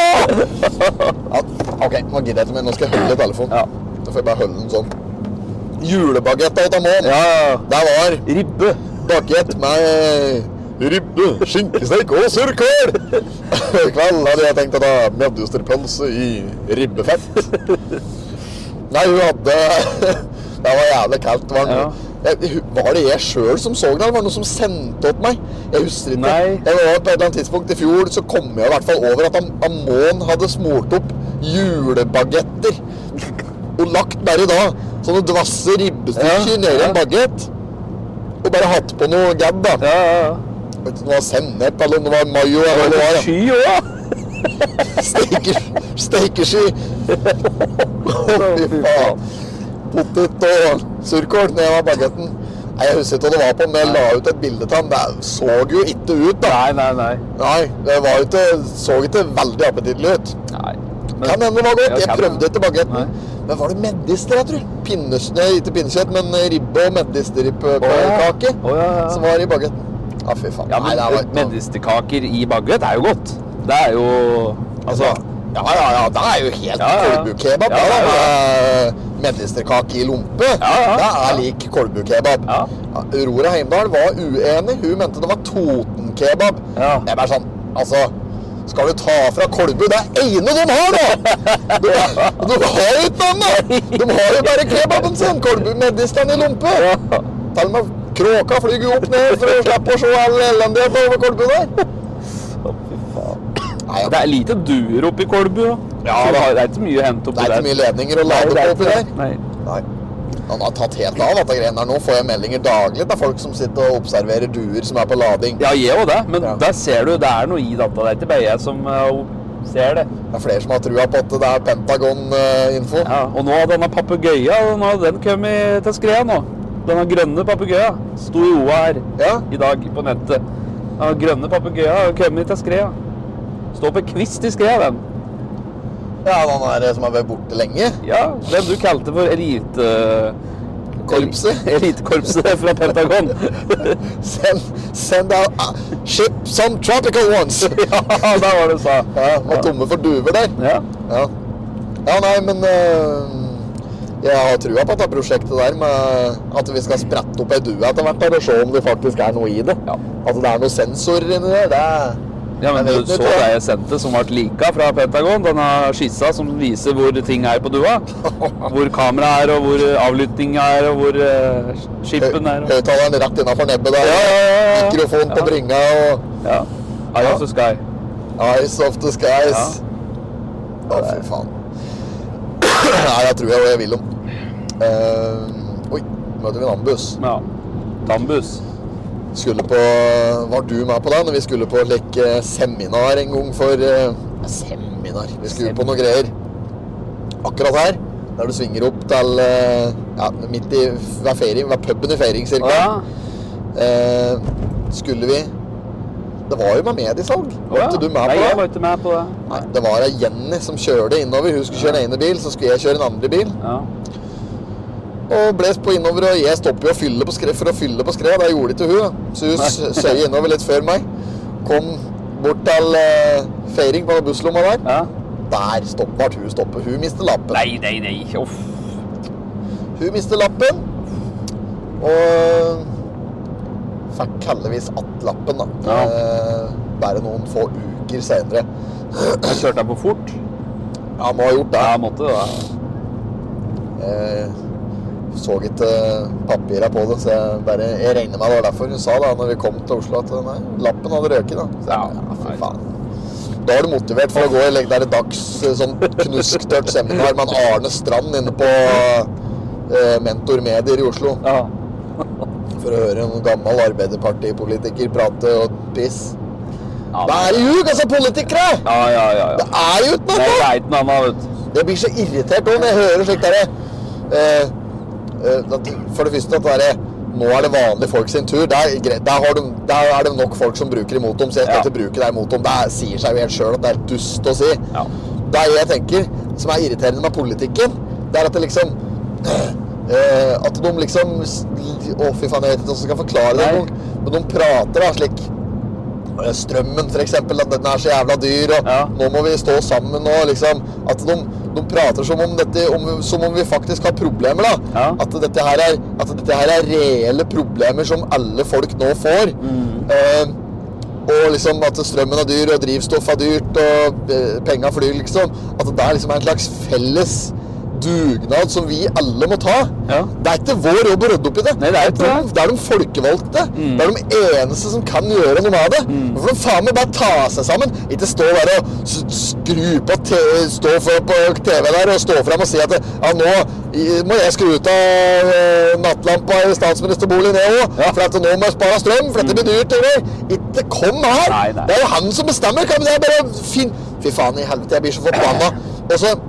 Speaker 5: Ja, ok, nå gidder jeg ikke mer. Nå skal jeg holde i telefonen.
Speaker 6: Ja.
Speaker 5: Da får jeg bare holde den sånn. Julebagetta til Amon.
Speaker 6: ja, ja.
Speaker 5: Der var
Speaker 6: Ribbe.
Speaker 5: bagett med eh, ribbe, skinkesteik og surkål. I kveld hadde jeg tenkt å ta medjusterpølse i ribbefett. Nei, hun hadde Det var jævlig kaldt. Det var en
Speaker 6: Ja.
Speaker 5: jeg, hu- Var det jeg sjøl som så den, eller var det noen som sendte opp meg? Jeg husker ikke.
Speaker 6: Nei.
Speaker 5: Jeg var på et eller annet tidspunkt i fjor så kom jeg i hvert fall over at Am Amon hadde smurt opp julebagetter og lagt bare da sånne dvasse ribbestykker
Speaker 6: Ja,
Speaker 5: nedi
Speaker 6: ja.
Speaker 5: en bagett. Og bare hatt på noe gadd, da.
Speaker 6: Ja, ja, ja.
Speaker 5: Jeg vet ikke om det var sennep, eller om det var mayo. Eller hva det var, ja.
Speaker 6: Sky òg!
Speaker 5: Steker- Stekeski! Å, fy faen. Potet og surkål ned av bagetten. Nei, Jeg husker ikke hva det var på, men jeg la ut et bilde til ham. Det så jo ikke ut, da.
Speaker 6: Nei, nei, nei.
Speaker 5: Nei, det var jo ikke, så ikke veldig appetittlig ut.
Speaker 6: nei.
Speaker 5: Kan hende det var godt.
Speaker 6: Ja,
Speaker 5: Jeg
Speaker 6: kan
Speaker 5: prøvde ikke
Speaker 6: Nei.
Speaker 5: bagetten. Men var det medister, jeg tror? Pinnes, nei, ikke pinnekjøtt, men ribbe og medisterribbekake
Speaker 6: Å, ja, ja.
Speaker 5: som var i bagetten. Ja, fy faen.
Speaker 6: Ja,
Speaker 5: Nei,
Speaker 6: men
Speaker 5: det var ikke noe-
Speaker 6: medisterkaker i baguett er jo godt. Det er jo Altså
Speaker 5: Ja, ja, ja, det er jo helt
Speaker 6: Ja, ja.
Speaker 5: kolbukebab.
Speaker 6: Ja,
Speaker 5: Ja,
Speaker 6: ja, ja.
Speaker 5: Medisterkake i lompe.
Speaker 6: Ja, ja.
Speaker 5: Det er lik kolbukebab.
Speaker 6: Ja.
Speaker 5: Aurora Heimdal var uenig. Hun mente det var Totenkebab.
Speaker 6: Ja.
Speaker 5: Det er bare sånn Altså, skal du ta fra Kolbu? Det er ene de har, da! De, de har jo ikke noe annet! De har jo bare kebaben sin! Kolbu-medisteren i lompe. Til og med kråka flyr jo opp ned for å slippe å se all elendigheten over Kolbu der. Nei,
Speaker 6: Det er lite duer oppi Kolbu. da.
Speaker 5: Ja,
Speaker 6: Så
Speaker 5: da.
Speaker 6: det er ikke mye å hente oppi
Speaker 5: Det er ikke
Speaker 6: der.
Speaker 5: mye ledninger å
Speaker 6: Nei,
Speaker 5: lade
Speaker 6: det
Speaker 5: på
Speaker 6: er
Speaker 5: oppi
Speaker 6: ikke
Speaker 5: der.
Speaker 6: det. Nei.
Speaker 5: Nei. Han har tatt helt av, dette greiene her nå. Får jeg meldinger daglig av folk som sitter og observerer duer som er på lading.
Speaker 6: Ja, jeg òg det, men
Speaker 5: Ja.
Speaker 6: der ser du det er noe i data. Det er ikke bare jeg som eh, ser det.
Speaker 5: Det er flere som har trua på at det er eh, Pentagon-info.
Speaker 6: Ja, og nå har denne papegøyen den har- den kommet til skred nå. Denne grønne papegøyen sto i OA her
Speaker 5: Ja.
Speaker 6: i dag på nettet. Den grønne papegøyen har kommet til skred. Står på kvist i skred, den.
Speaker 5: ja, han er eh, som har vært borte lenge.
Speaker 6: Ja, den du kalte for elite...
Speaker 5: Korpset.
Speaker 6: Elitekorpset fra Pentagon.
Speaker 5: Send, send out ah, ship some tropical ones!
Speaker 6: ja, der var det du sa.
Speaker 5: Ja, var tomme for duver der.
Speaker 6: Ja.
Speaker 5: Ja, ja nei, men eh, jeg har trua på dette prosjektet der med at vi skal sprette opp ei due etter hvert der, og se om det faktisk er noe i det.
Speaker 6: Ja.
Speaker 5: At det er noen sensorer inni der. Det er
Speaker 6: ja, men
Speaker 5: Jeg
Speaker 6: du
Speaker 5: vet
Speaker 6: så
Speaker 5: ikke.
Speaker 6: det jeg sendte som ble lika fra Pentagon. Denne skissa som viser hvor ting er på dua. Hvor kameraet er, og hvor eh, avlyttinga er, og hvor eh, skipen er. Og...
Speaker 5: Høyttaleren rett innafor nebbet der.
Speaker 6: Ja, ja, ja, ja.
Speaker 5: Mikrofon på
Speaker 6: Ja.
Speaker 5: bringa og
Speaker 6: Ja. Eye of the sky.
Speaker 5: Eyes of the skies. Å, fy faen. Nei, jeg tror jeg jeg vil om. Eh, oi, møter vi en annen buss.
Speaker 6: Ja. Tambus.
Speaker 5: Skulle på Var du med på det når vi skulle på like eh, seminar en gang for eh, Seminar. Vi skulle på noe greier akkurat her. Der du svinger opp til eh, ja, midt i ved feiring, ved puben i feiring
Speaker 6: Å,
Speaker 5: cirka.
Speaker 6: ja.
Speaker 5: Eh, skulle vi Det var jo med mediesalg.
Speaker 6: Å,
Speaker 5: Var
Speaker 6: ja.
Speaker 5: ikke du med
Speaker 6: Nei, jeg
Speaker 5: på
Speaker 6: var
Speaker 5: det?
Speaker 6: ikke med på det.
Speaker 5: Nei, det var ei Jenny som kjørte innover. Hun skulle kjøre den ene bil, så skulle jeg kjøre den andre bil.
Speaker 6: Ja.
Speaker 5: Og ble på innover, og jeg stopper jo å fylle på skred for å fylle på skred. Det gjorde ikke hun. da. Så hun
Speaker 6: Nei.
Speaker 5: s- søyer innover litt før meg. Kom bort til eh, feiring på busslomma der.
Speaker 6: ja.
Speaker 5: Der stopp, ble hun stoppet. Hun mister lappen.
Speaker 6: Nei, nei, nei. Uff.
Speaker 5: Hun mister lappen. Og fikk heldigvis att lappen, da.
Speaker 6: Ja.
Speaker 5: Eh, bare noen få uker senere.
Speaker 6: Jeg kjørte jeg på fort?
Speaker 5: Ja, må ha gjort det.
Speaker 6: Ja, jeg måtte det. da.
Speaker 5: Jeg Eh, så ikke papira på det, så jeg bare Jeg regner med det var derfor hun sa da når vi kom til Oslo, at nei, lappen hadde røket, da. Så jeg,
Speaker 6: Ja.
Speaker 5: ja, fy faen. Da er du motivert for å gå og legge deg et dags eh, sånn knusktørt seminar med en Arne Strand inne på eh, Mentor Medier i Oslo
Speaker 6: Ja.
Speaker 5: for å høre en gammel arbeiderpartipolitiker prate og piss.
Speaker 6: Ja,
Speaker 5: Hva er det ljug, altså, politikere?!
Speaker 6: Ja, ja, ja. ja.
Speaker 5: Det er jo ikke
Speaker 6: Nei,
Speaker 5: noe!
Speaker 6: det er ikke noe annet, vet du.
Speaker 5: Jeg blir så irritert også når jeg hører slikt derre eh, eh, at- For det første at det derre Nå er det vanlige folk sin tur. Der, der, har de, der er det nok folk som bruker imot dem, så jeg skal
Speaker 6: Ja.
Speaker 5: ikke bruke det imot dem. Det sier seg jo helt sjøl at det er dust å si.
Speaker 6: Ja.
Speaker 5: Det jeg tenker, som er irriterende med politikken, det er at det liksom eh, At de liksom s- Å, fy faen, jeg vet ikke hvordan jeg skal forklare det.
Speaker 6: Nei.
Speaker 5: Men, men de prater da slik Eh, strømmen for eksempel, at den er så jævla dyr, og
Speaker 6: Ja.
Speaker 5: nå må vi stå sammen og liksom At de, de prater som om, dette, om, som om vi faktisk har problemer, da.
Speaker 6: Ja.
Speaker 5: At, dette her er, at dette her er reelle problemer som alle folk nå får.
Speaker 6: Mm.
Speaker 5: Eh, og liksom at strømmen er dyr, og drivstoff er dyrt, og eh, penga flyr, liksom. At det der liksom er en slags felles dugnad som vi alle må ta.
Speaker 6: Ja.
Speaker 5: Det er ikke vår jobb å rydde opp i det.
Speaker 6: Nei, det er ikke
Speaker 5: de-
Speaker 6: det.
Speaker 5: det er de folkevalgte.
Speaker 6: Mm.
Speaker 5: Det er de eneste som kan gjøre noe med det. Hvorfor de faen meg bare ta seg sammen? Ikke stå der og s- skru på te stå for på TV der og stå frem og si at ja, nå i- må jeg skru ut av eh, nattlampa i statsministerboligen jeg òg,
Speaker 6: Ja. Mm.
Speaker 5: for at nå må jeg spare strøm, for dette blir dyrt. Eller? Ikke kom her!
Speaker 6: Nei, nei.
Speaker 5: Det er jo han som bestemmer! Kan jeg bare fin... Fy faen i helvete, jeg blir så forbanna. Og så,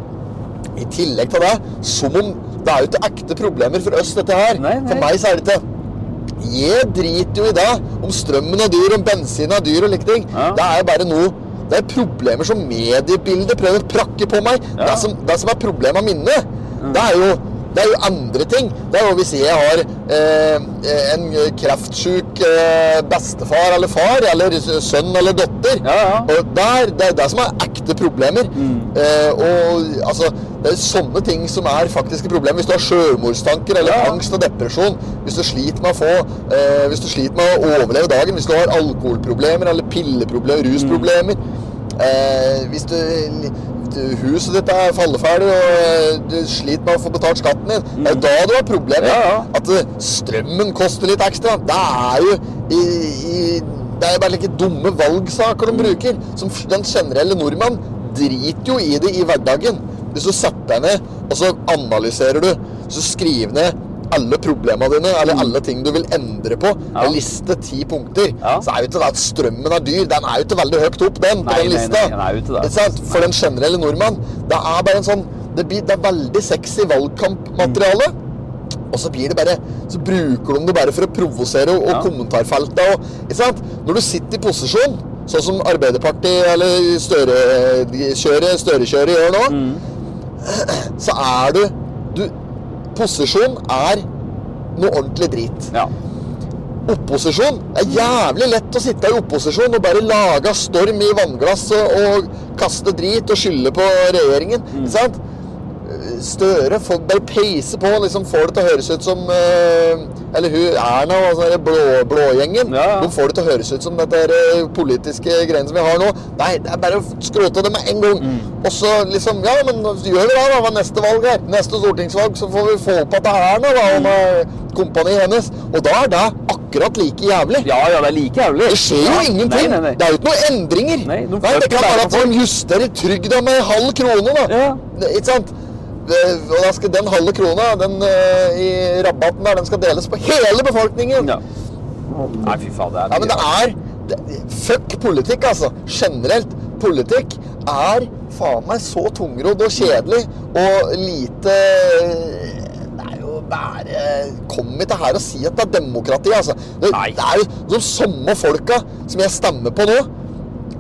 Speaker 5: i tillegg til det, som om det er jo ikke ekte problemer for oss, dette her.
Speaker 6: Nei, nei.
Speaker 5: For meg så er det ikke Jeg driter jo i det. Om strømmen er dyr, om bensin er dyr og like ting.
Speaker 6: Ja.
Speaker 5: Det er bare noe Det er problemer som mediebildet prøver å prakke på meg.
Speaker 6: Ja.
Speaker 5: Det, som, det som er problemet med minnet, det er jo det er jo andre ting. Det er jo Hvis jeg har eh, en kreftsjuk eh, bestefar eller far, eller sønn eller datter
Speaker 6: Ja, ja. Mm.
Speaker 5: Og der, Det er det som er ekte problemer. Eh, og altså, Det er sånne ting som er faktiske problemer. Hvis du har sjølmordstanker eller
Speaker 6: Ja.
Speaker 5: angst og depresjon, hvis du sliter med å få eh, Hvis du sliter med å overleve dagen, hvis du har alkoholproblemer eller pilleproblemer, rusproblemer
Speaker 6: Mm.
Speaker 5: eh, Hvis du du- huset ditt er falleferdig og eh, du sliter med å få betalt skatten din, det er jo da du har problemer.
Speaker 6: Mm. Ja, ja.
Speaker 5: At eh, strømmen koster litt ekstra, det er jo i, i Det er jo bare like dumme valgsaker de bruker. Som f- den generelle nordmann driter jo i det i hverdagen. Hvis du setter deg ned og så analyserer du, så skriv ned alle problemene dine, eller alle ting du vil endre på.
Speaker 6: Ja.
Speaker 5: En liste ti punkter.
Speaker 6: Ja.
Speaker 5: Så er jo ikke det at strømmen er dyr. Den er jo ikke veldig høyt opp, den, på
Speaker 6: Nei,
Speaker 5: den
Speaker 6: nei,
Speaker 5: lista.
Speaker 6: nei, den er jo ikke det.
Speaker 5: Ikke sant? For den generelle nordmann. Det er bare en sånn Det, blir, det er veldig sexy valgkampmateriale. Og så blir det bare Så bruker de det bare for å provosere og, og
Speaker 6: Ja.
Speaker 5: kommentarfeltet og Ikke sant? Når du sitter i posisjon, sånn som Arbeiderpartiet eller Støre-kjøret Støre gjør nå,
Speaker 6: Mm.
Speaker 5: så er du, du Posisjon er noe ordentlig drit
Speaker 6: Ja.
Speaker 5: opposisjon. Det er jævlig lett å sitte i opposisjon og bare lage storm i vannglasset og kaste drit og skylde på regjeringen.
Speaker 6: Mm.
Speaker 5: Ikke sant? Støre får bare peise på, liksom får det til å høres ut som eh, Eller hun Erna og altså, den blå, blågjengen.
Speaker 6: Ja, ja.
Speaker 5: De får det til å høres ut som dette her, eh, politiske greiene som vi har nå. Nei, det er bare å skrote det med en gang.
Speaker 6: Mm.
Speaker 5: Og så liksom Ja, men gjør vi det, da? Hva er neste valg her? Neste stortingsvalg, så får vi få opp at det er Erna, da,
Speaker 6: Mm.
Speaker 5: og med kompaniet hennes. Og da er det akkurat like jævlig.
Speaker 6: ja, ja, det er like jævlig.
Speaker 5: Det skjer jo
Speaker 6: Ja.
Speaker 5: ingenting!
Speaker 6: Nei, nei,
Speaker 5: Det
Speaker 6: nei.
Speaker 5: er jo ikke noen endringer!
Speaker 6: Nei, de
Speaker 5: det
Speaker 6: flytter
Speaker 5: kan være
Speaker 6: bare
Speaker 5: at de justerer trygda med en halv krone, da.
Speaker 6: Ja.
Speaker 5: Det- Ikke sant? Eh, Og da skal den halve krona den, eh, i rabatten der, den skal deles på hele befolkningen!
Speaker 6: Ja. Nei, fy faen, det er
Speaker 5: Ja, men det er det, Fuck politikk, altså. Generelt. Politikk er faen meg så tungrodd og kjedelig og lite eh, Det er jo bare Kom ikke her og si at det er demokrati, altså. Det,
Speaker 6: Nei.
Speaker 5: det er jo de samme folka som jeg stemmer på nå.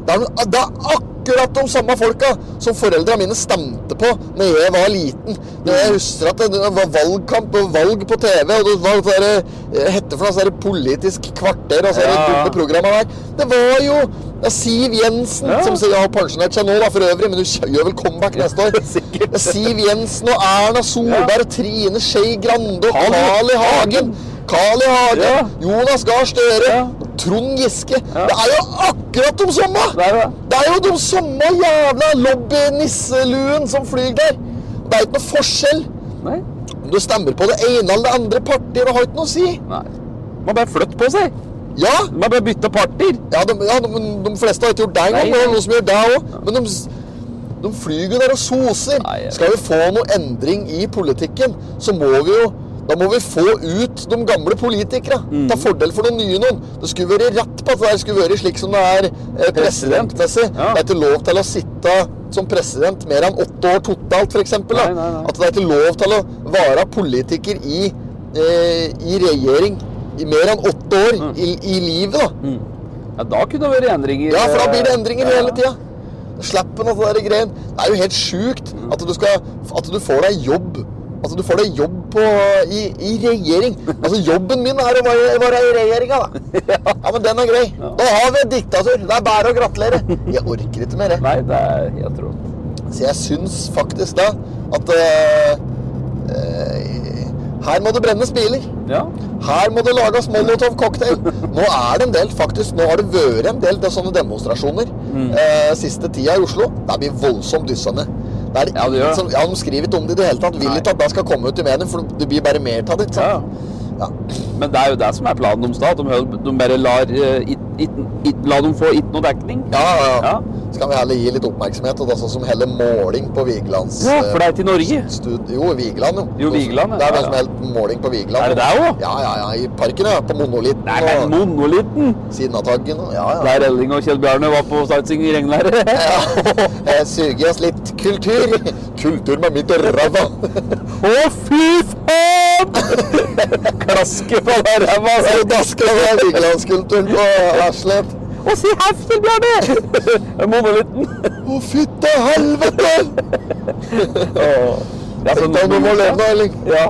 Speaker 5: Det er, noen- det er akkurat de samme folka som foreldra mine stemte på når jeg var liten. Når jeg husker at det var valgkamp og valg på TV, og det var sånn der, eh, hette for noe sånn der politisk kvarter og sånne
Speaker 6: Ja, ja.
Speaker 5: dumme programmer der. Det var jo ja, Siv Jensen,
Speaker 6: Ja.
Speaker 5: som sier- har pensjonert seg nå da, for øvrig, men hun gjør vel comeback neste år.
Speaker 6: sikkert.
Speaker 5: Siv Jensen og Erna Solberg, Trine Skei Grande og
Speaker 6: Carl I.
Speaker 5: Carl I. Hagen. Carl I. Hagen,
Speaker 6: Ja.
Speaker 5: Jonas Gahr Støre,
Speaker 6: Ja.
Speaker 5: Trond Giske.
Speaker 6: Ja.
Speaker 5: Det er jo akkurat de samme!
Speaker 6: Det er jo det.
Speaker 5: Det er jo de samme jævla lobby-nisseluen som flyr der. Det er ikke noe forskjell.
Speaker 6: Nei.
Speaker 5: Om du stemmer på det ene eller det andre partiet, det har ikke noe å si.
Speaker 6: Nei. Man bare flytter på seg.
Speaker 5: Ja,
Speaker 6: Man bare bytter parter.
Speaker 5: ja, de, ja de, de fleste har ikke gjort det
Speaker 6: Nei,
Speaker 5: engang, men det er
Speaker 6: nei.
Speaker 5: noen som gjør det òg. Men de, s- de flyger jo der og soser.
Speaker 6: Nei, jeg vet
Speaker 5: Skal vi få noe endring i politikken, så må vi jo da må vi få ut de gamle politikere.
Speaker 6: Mm.
Speaker 5: Ta fordel for noen nye noen. Det skulle vært rett på at det der skulle vært slik som det er eh,
Speaker 6: President.
Speaker 5: presidentmessig.
Speaker 6: Ja.
Speaker 5: Det er ikke lov til å sitte som president mer enn åtte år totalt, f.eks.
Speaker 6: Nei, nei, nei.
Speaker 5: At det er ikke lov til å være politiker i, eh, i regjering i mer enn åtte år
Speaker 6: Mm.
Speaker 5: i, i livet. da.
Speaker 6: Ja, da kunne det vært endringer.
Speaker 5: Ja, for da blir det
Speaker 6: eh,
Speaker 5: endringer
Speaker 6: ja, ja.
Speaker 5: hele tida. Slappen og sånne der greien. Det er jo helt sjukt at du, skal, at du får deg jobb. Altså, du får deg jobb på, i, i regjering. Altså, jobben min er å være, være i regjeringa, da. Ja, men den er grei. Da har vi et diktatur. Det er bare å gratulere. Jeg orker ikke mer, jeg.
Speaker 6: Nei, det er helt rått.
Speaker 5: Så jeg syns faktisk da at eh, eh, Her må det brennes biler.
Speaker 6: Ja.
Speaker 5: Her må det lages molotov-cocktail. Nå er det en del, faktisk, nå har det
Speaker 6: Mm.
Speaker 5: vært en del det er sånne demonstrasjoner eh, siste tida i Oslo. Det blir voldsomt dyssende. Det er
Speaker 6: Ja, det gjør det.
Speaker 5: Som, ja, De skriver ikke om det i det hele tatt. Vil
Speaker 6: Nei.
Speaker 5: ikke at det skal komme ut i mediene, for det blir bare mer av det. ikke
Speaker 6: Ja.
Speaker 5: sant? Ja.
Speaker 6: Men det er jo det som er planen deres, da. At de, hø- de bare lar, eh, it, it, it, la dem få ikke noe dekning.
Speaker 5: Ja, ja, ja.
Speaker 6: Ja.
Speaker 5: Så kan vi heller gi litt oppmerksomhet til det sånn som heller måling på Vigelands
Speaker 6: Ja, for det er til Norge.
Speaker 5: eh, stud- Jo, Vigeland, jo.
Speaker 6: Jo, Vigeland, ja.
Speaker 5: Det er noe
Speaker 6: Ja,
Speaker 5: som
Speaker 6: ja.
Speaker 5: heter måling på Vigeland.
Speaker 6: Er det der også?
Speaker 5: Ja, ja, ja. I parken, ja. På Monolitten
Speaker 6: Det er helt
Speaker 5: og
Speaker 6: monolitten!
Speaker 5: siden av taggen. og- Ja, ja.
Speaker 6: Der Elling og Kjell Bjarne var på sightseeing i regnværet.
Speaker 5: ja. Jeg suger i oss litt kultur. Kultur med mitt og ræva.
Speaker 6: Å, fy faen! Klaske på den ræva!
Speaker 5: Det er jo dasker med Vigelandskulturen på Aslett.
Speaker 6: Å, si heftig, Bjarne! Monolitten.
Speaker 5: Å, fytte helvete!
Speaker 6: Åh. Ja, så
Speaker 5: Tenk deg om du må leve nå, Elling.
Speaker 6: Ja.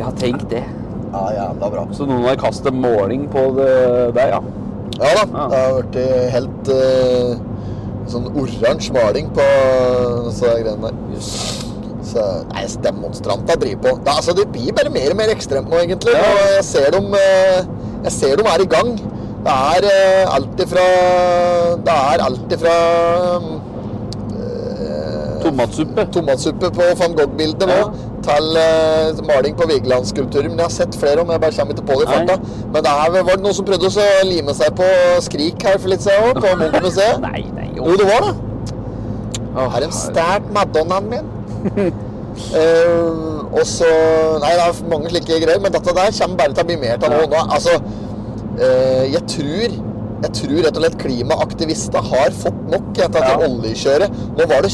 Speaker 6: ja, tenk det.
Speaker 5: Ja, jævla bra.
Speaker 6: Så noen har kastet måling på det der, ja.
Speaker 5: Ja da, det har vært eh, helt eh, sånn oransje maling på disse greiene der. Så nei, demonstranter driver på. Da, altså, det blir bare mer og mer ekstremt nå, egentlig.
Speaker 6: Ja.
Speaker 5: Og jeg ser dem, eh, jeg ser dem er i gang. Det er eh, alt ifra Det er alt ifra mm, eh,
Speaker 6: Tomatsuppe.
Speaker 5: tomatsuppe på van Gogh-bildet nå,
Speaker 6: Ja.
Speaker 5: til eh, maling på Vigelandskulpturer. Men jeg har sett flere om, jeg bare kommer ikke på det i
Speaker 6: Nei.
Speaker 5: farta. Men det her var det noen som prøvde å så lime seg på Skrik her for litt siden òg, på Munch-museet.
Speaker 6: Nei, nei,
Speaker 5: Jo, det var det.
Speaker 6: Åh,
Speaker 5: Her er en stært Madonnaen min. Eh, og så Nei, det er mange slike greier, men dette der kommer bare til å bli mer av nå.
Speaker 6: Ja.
Speaker 5: nå. Altså, eh, jeg tror jeg tror rett og slett klimaaktivistene har fått nok etter dette
Speaker 6: Ja.
Speaker 5: oljekjøret. Nå var det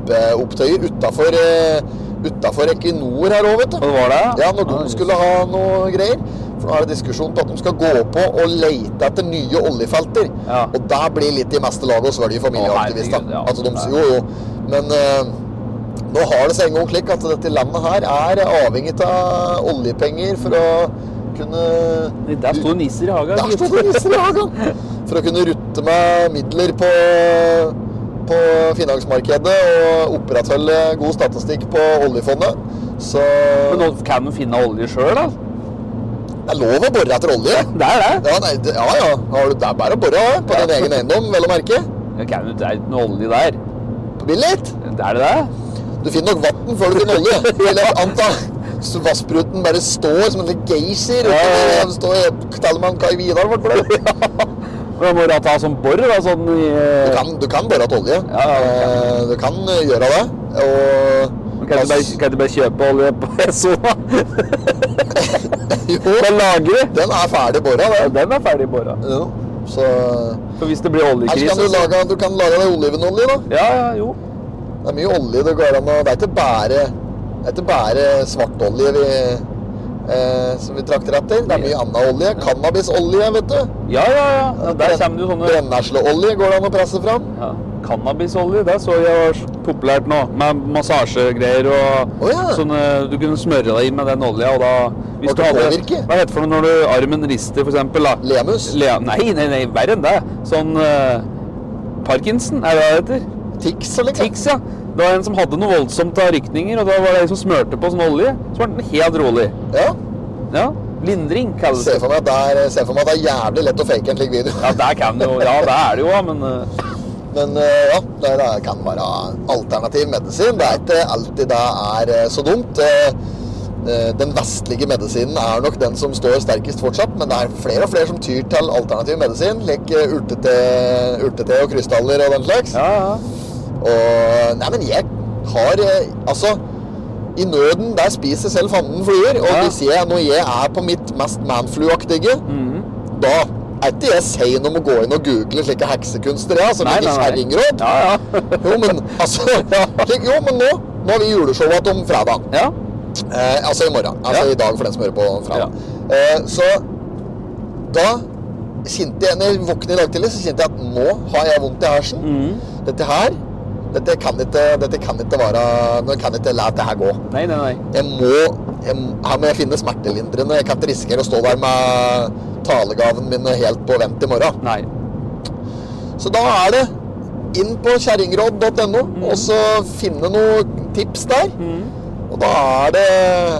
Speaker 5: kjempeopptøyer utafor Utafor Equinor her òg, vet
Speaker 6: Og
Speaker 5: du.
Speaker 6: det var det?
Speaker 5: Ja, når de
Speaker 6: jøss.
Speaker 5: skulle ha noe greier. For nå er det diskusjon på at de skal gå på og leite etter nye oljefelter.
Speaker 6: Ja.
Speaker 5: Og det blir litt i meste laget å svelge familieaktivister.
Speaker 6: Å, herregud, ja.
Speaker 5: Altså, de, jo, jo. Men eh, nå har det seg en gang slik at dette landet her er avhengig av oljepenger for å kunne
Speaker 6: Nei, Der sto nisser i hagen.
Speaker 5: Der
Speaker 6: gitt.
Speaker 5: sto det nisser i hagen! For å kunne rutte med midler på på finansmarkedet og opprettholde god statistikk på oljefondet. Så
Speaker 6: Men nå kan man finne olje sjøl, da.
Speaker 5: det er lov å bore etter olje.
Speaker 6: Det er det.
Speaker 5: Ja, nei, det- ja. ja. Har du, det er bare å bore ja, på din egen eiendom, vel å merke.
Speaker 6: Det kan jo- det er ikke noe olje der.
Speaker 5: På Billit.
Speaker 6: Det er det det?
Speaker 5: Du finner nok vann før du finner olje. Vil jeg anta. Så Vassbruten bare står som en liten geysir.
Speaker 6: Ja, ja, ja.
Speaker 5: Ja. Står i Kalman Kai Vidar, hva for det?
Speaker 6: Men jeg må da ta sånn bor, da, sånn i
Speaker 5: Du kan, du kan bore etter olje.
Speaker 6: Ja, ja,
Speaker 5: Eh, Du
Speaker 6: du kan.
Speaker 5: kan eh, gjøre det. Og
Speaker 6: Kan du bare, kan du bare kjøpe olje på Sona?
Speaker 5: Jo,
Speaker 6: På lageret?
Speaker 5: den er ferdig bora,
Speaker 6: Ja,
Speaker 5: det.
Speaker 6: Den er ferdig bora.
Speaker 5: Jo, Så
Speaker 6: For hvis det blir
Speaker 5: Her
Speaker 6: oljekrise
Speaker 5: kan du lage, du kan lage deg olivenolje, da.
Speaker 6: Ja, ja, jo.
Speaker 5: Det er mye olje det går an å Det er ikke bare, det er ikke bare svartolje vi, eh, som vi trakter etter. Det er mye annen olje. Cannabisolje, vet du.
Speaker 6: Ja, ja, ja. ja der kommer det jo sånne
Speaker 5: Brennesleolje går det an å presse fram.
Speaker 6: ja. Cannabisolje, det så jeg var populært nå. Med massasjegreier og
Speaker 5: Å, ja.
Speaker 6: sånne Du kunne smøre deg inn med den olja, og da
Speaker 5: Og det påvirker.
Speaker 6: Hva heter det for noe når du armen rister, for eksempel? Da.
Speaker 5: Lemus.
Speaker 6: Le nei, nei, nei, verre enn det. Sånn eh, Parkinson, er det det heter?
Speaker 5: Tix eller noe.
Speaker 6: Tix, ja. Det var en som hadde noe voldsomt av rykninger, og da var det en som smørte på sånn olje. Så var den helt rolig.
Speaker 5: Ja.
Speaker 6: Ja. Lindring kalles
Speaker 5: Se sånn. for
Speaker 6: det.
Speaker 5: meg at det er, se for meg at det er jævlig lett å fake en slik video.
Speaker 6: Ja, der kan det jo. Ja, det er det jo, ja, men eh,
Speaker 5: Men eh, ja, det det kan være alternativ medisin. Det er ikke alltid det er eh, så dumt. Eh, eh, Den vestlige medisinen er nok den som står sterkest fortsatt, men det er flere og flere som tyr til alternativ medisin, like eh, urtete, urtete og krystaller og den slags.
Speaker 6: Ja, ja.
Speaker 5: Og Nei, men jeg har eh, Altså, i nøden, der spiser selv fanden fluer. Og
Speaker 6: Ja.
Speaker 5: hvis jeg, når jeg er på mitt mest manflu-aktige,
Speaker 6: Mhm.
Speaker 5: da er ikke jeg sein om å gå inn og google slike heksekunster, ja, som
Speaker 6: Nei,
Speaker 5: ikke
Speaker 6: nei, nei.
Speaker 5: kjerringråd.
Speaker 6: Ja, ja.
Speaker 5: Jo, men altså slik, Jo, men nå Nå har vi juleshowet om fredag.
Speaker 6: ja.
Speaker 5: Eh, altså i morgen. Altså
Speaker 6: Ja.
Speaker 5: i dag, for den som hører på fredag. Eh, så da kjente jeg, når jeg våknet i dag tidlig, så kjente jeg at nå har jeg vondt i hersen. Dette her dette kan ikke, dette kan ikke være Nå kan jeg ikke la dette her gå.
Speaker 6: Nei, nei, nei.
Speaker 5: Jeg må, jeg, her må jeg finne smertelindrende. Jeg kan ikke risikere å stå der med talegaven min helt på vent i morgen.
Speaker 6: Nei.
Speaker 5: Så da er det inn på kjerringråd.no
Speaker 6: Mm.
Speaker 5: og så finne noen tips der. Og da er det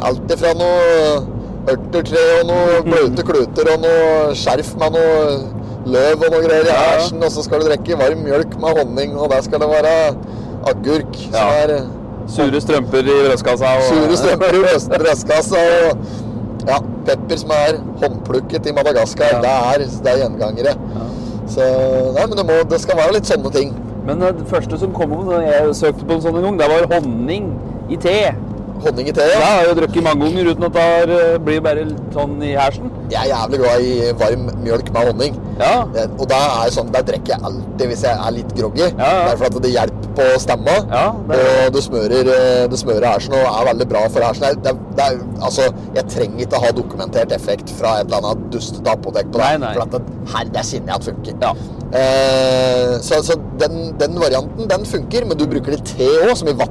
Speaker 5: alt ifra noe ørtertre og
Speaker 6: Mm.
Speaker 5: noe bløte kluter og noe skjerf med noe løv og noe greier i
Speaker 6: Ja, ja.
Speaker 5: hersen, og så skal du drikke varm mjølk med honning, og der skal det være agurk. Som
Speaker 6: Ja.
Speaker 5: er eh,
Speaker 6: Sure strømper i brødskassa. og-
Speaker 5: sure strømper i brøst- brøstkassa. Og ja, pepper som er håndplukket i Madagaskar.
Speaker 6: Ja.
Speaker 5: Det, er, det er gjengangere. Så nei, men det, må, det skal være litt sånne ting.
Speaker 6: Men eh, det første som kom om da jeg søkte på en sånn en gang, det var honning i te.
Speaker 5: Honning i te.
Speaker 6: Det
Speaker 5: Ja.
Speaker 6: har jeg jo drukket mange ganger uten at det har, eh, blir bare sånn i hersen.
Speaker 5: Jeg er jævlig glad i varm mjølk med honning.
Speaker 6: Ja.
Speaker 5: Eh, Og det er sånn, der drikker jeg alltid hvis jeg er litt groggy.
Speaker 6: ja.
Speaker 5: Det er for at det hjelper på stemma.
Speaker 6: Ja, det er-
Speaker 5: Og det smører, eh, det smører hersen og er veldig bra for hersen. Det, er- det er, altså, jeg trenger ikke ha dokumentert effekt fra et eller annet dustete apotek på det.
Speaker 6: Nei, nei.
Speaker 5: For at det, her, det kjenner jeg at funker.
Speaker 6: Ja.
Speaker 5: Eh, så så den, den varianten den funker, men du bruker det i te òg, som i vann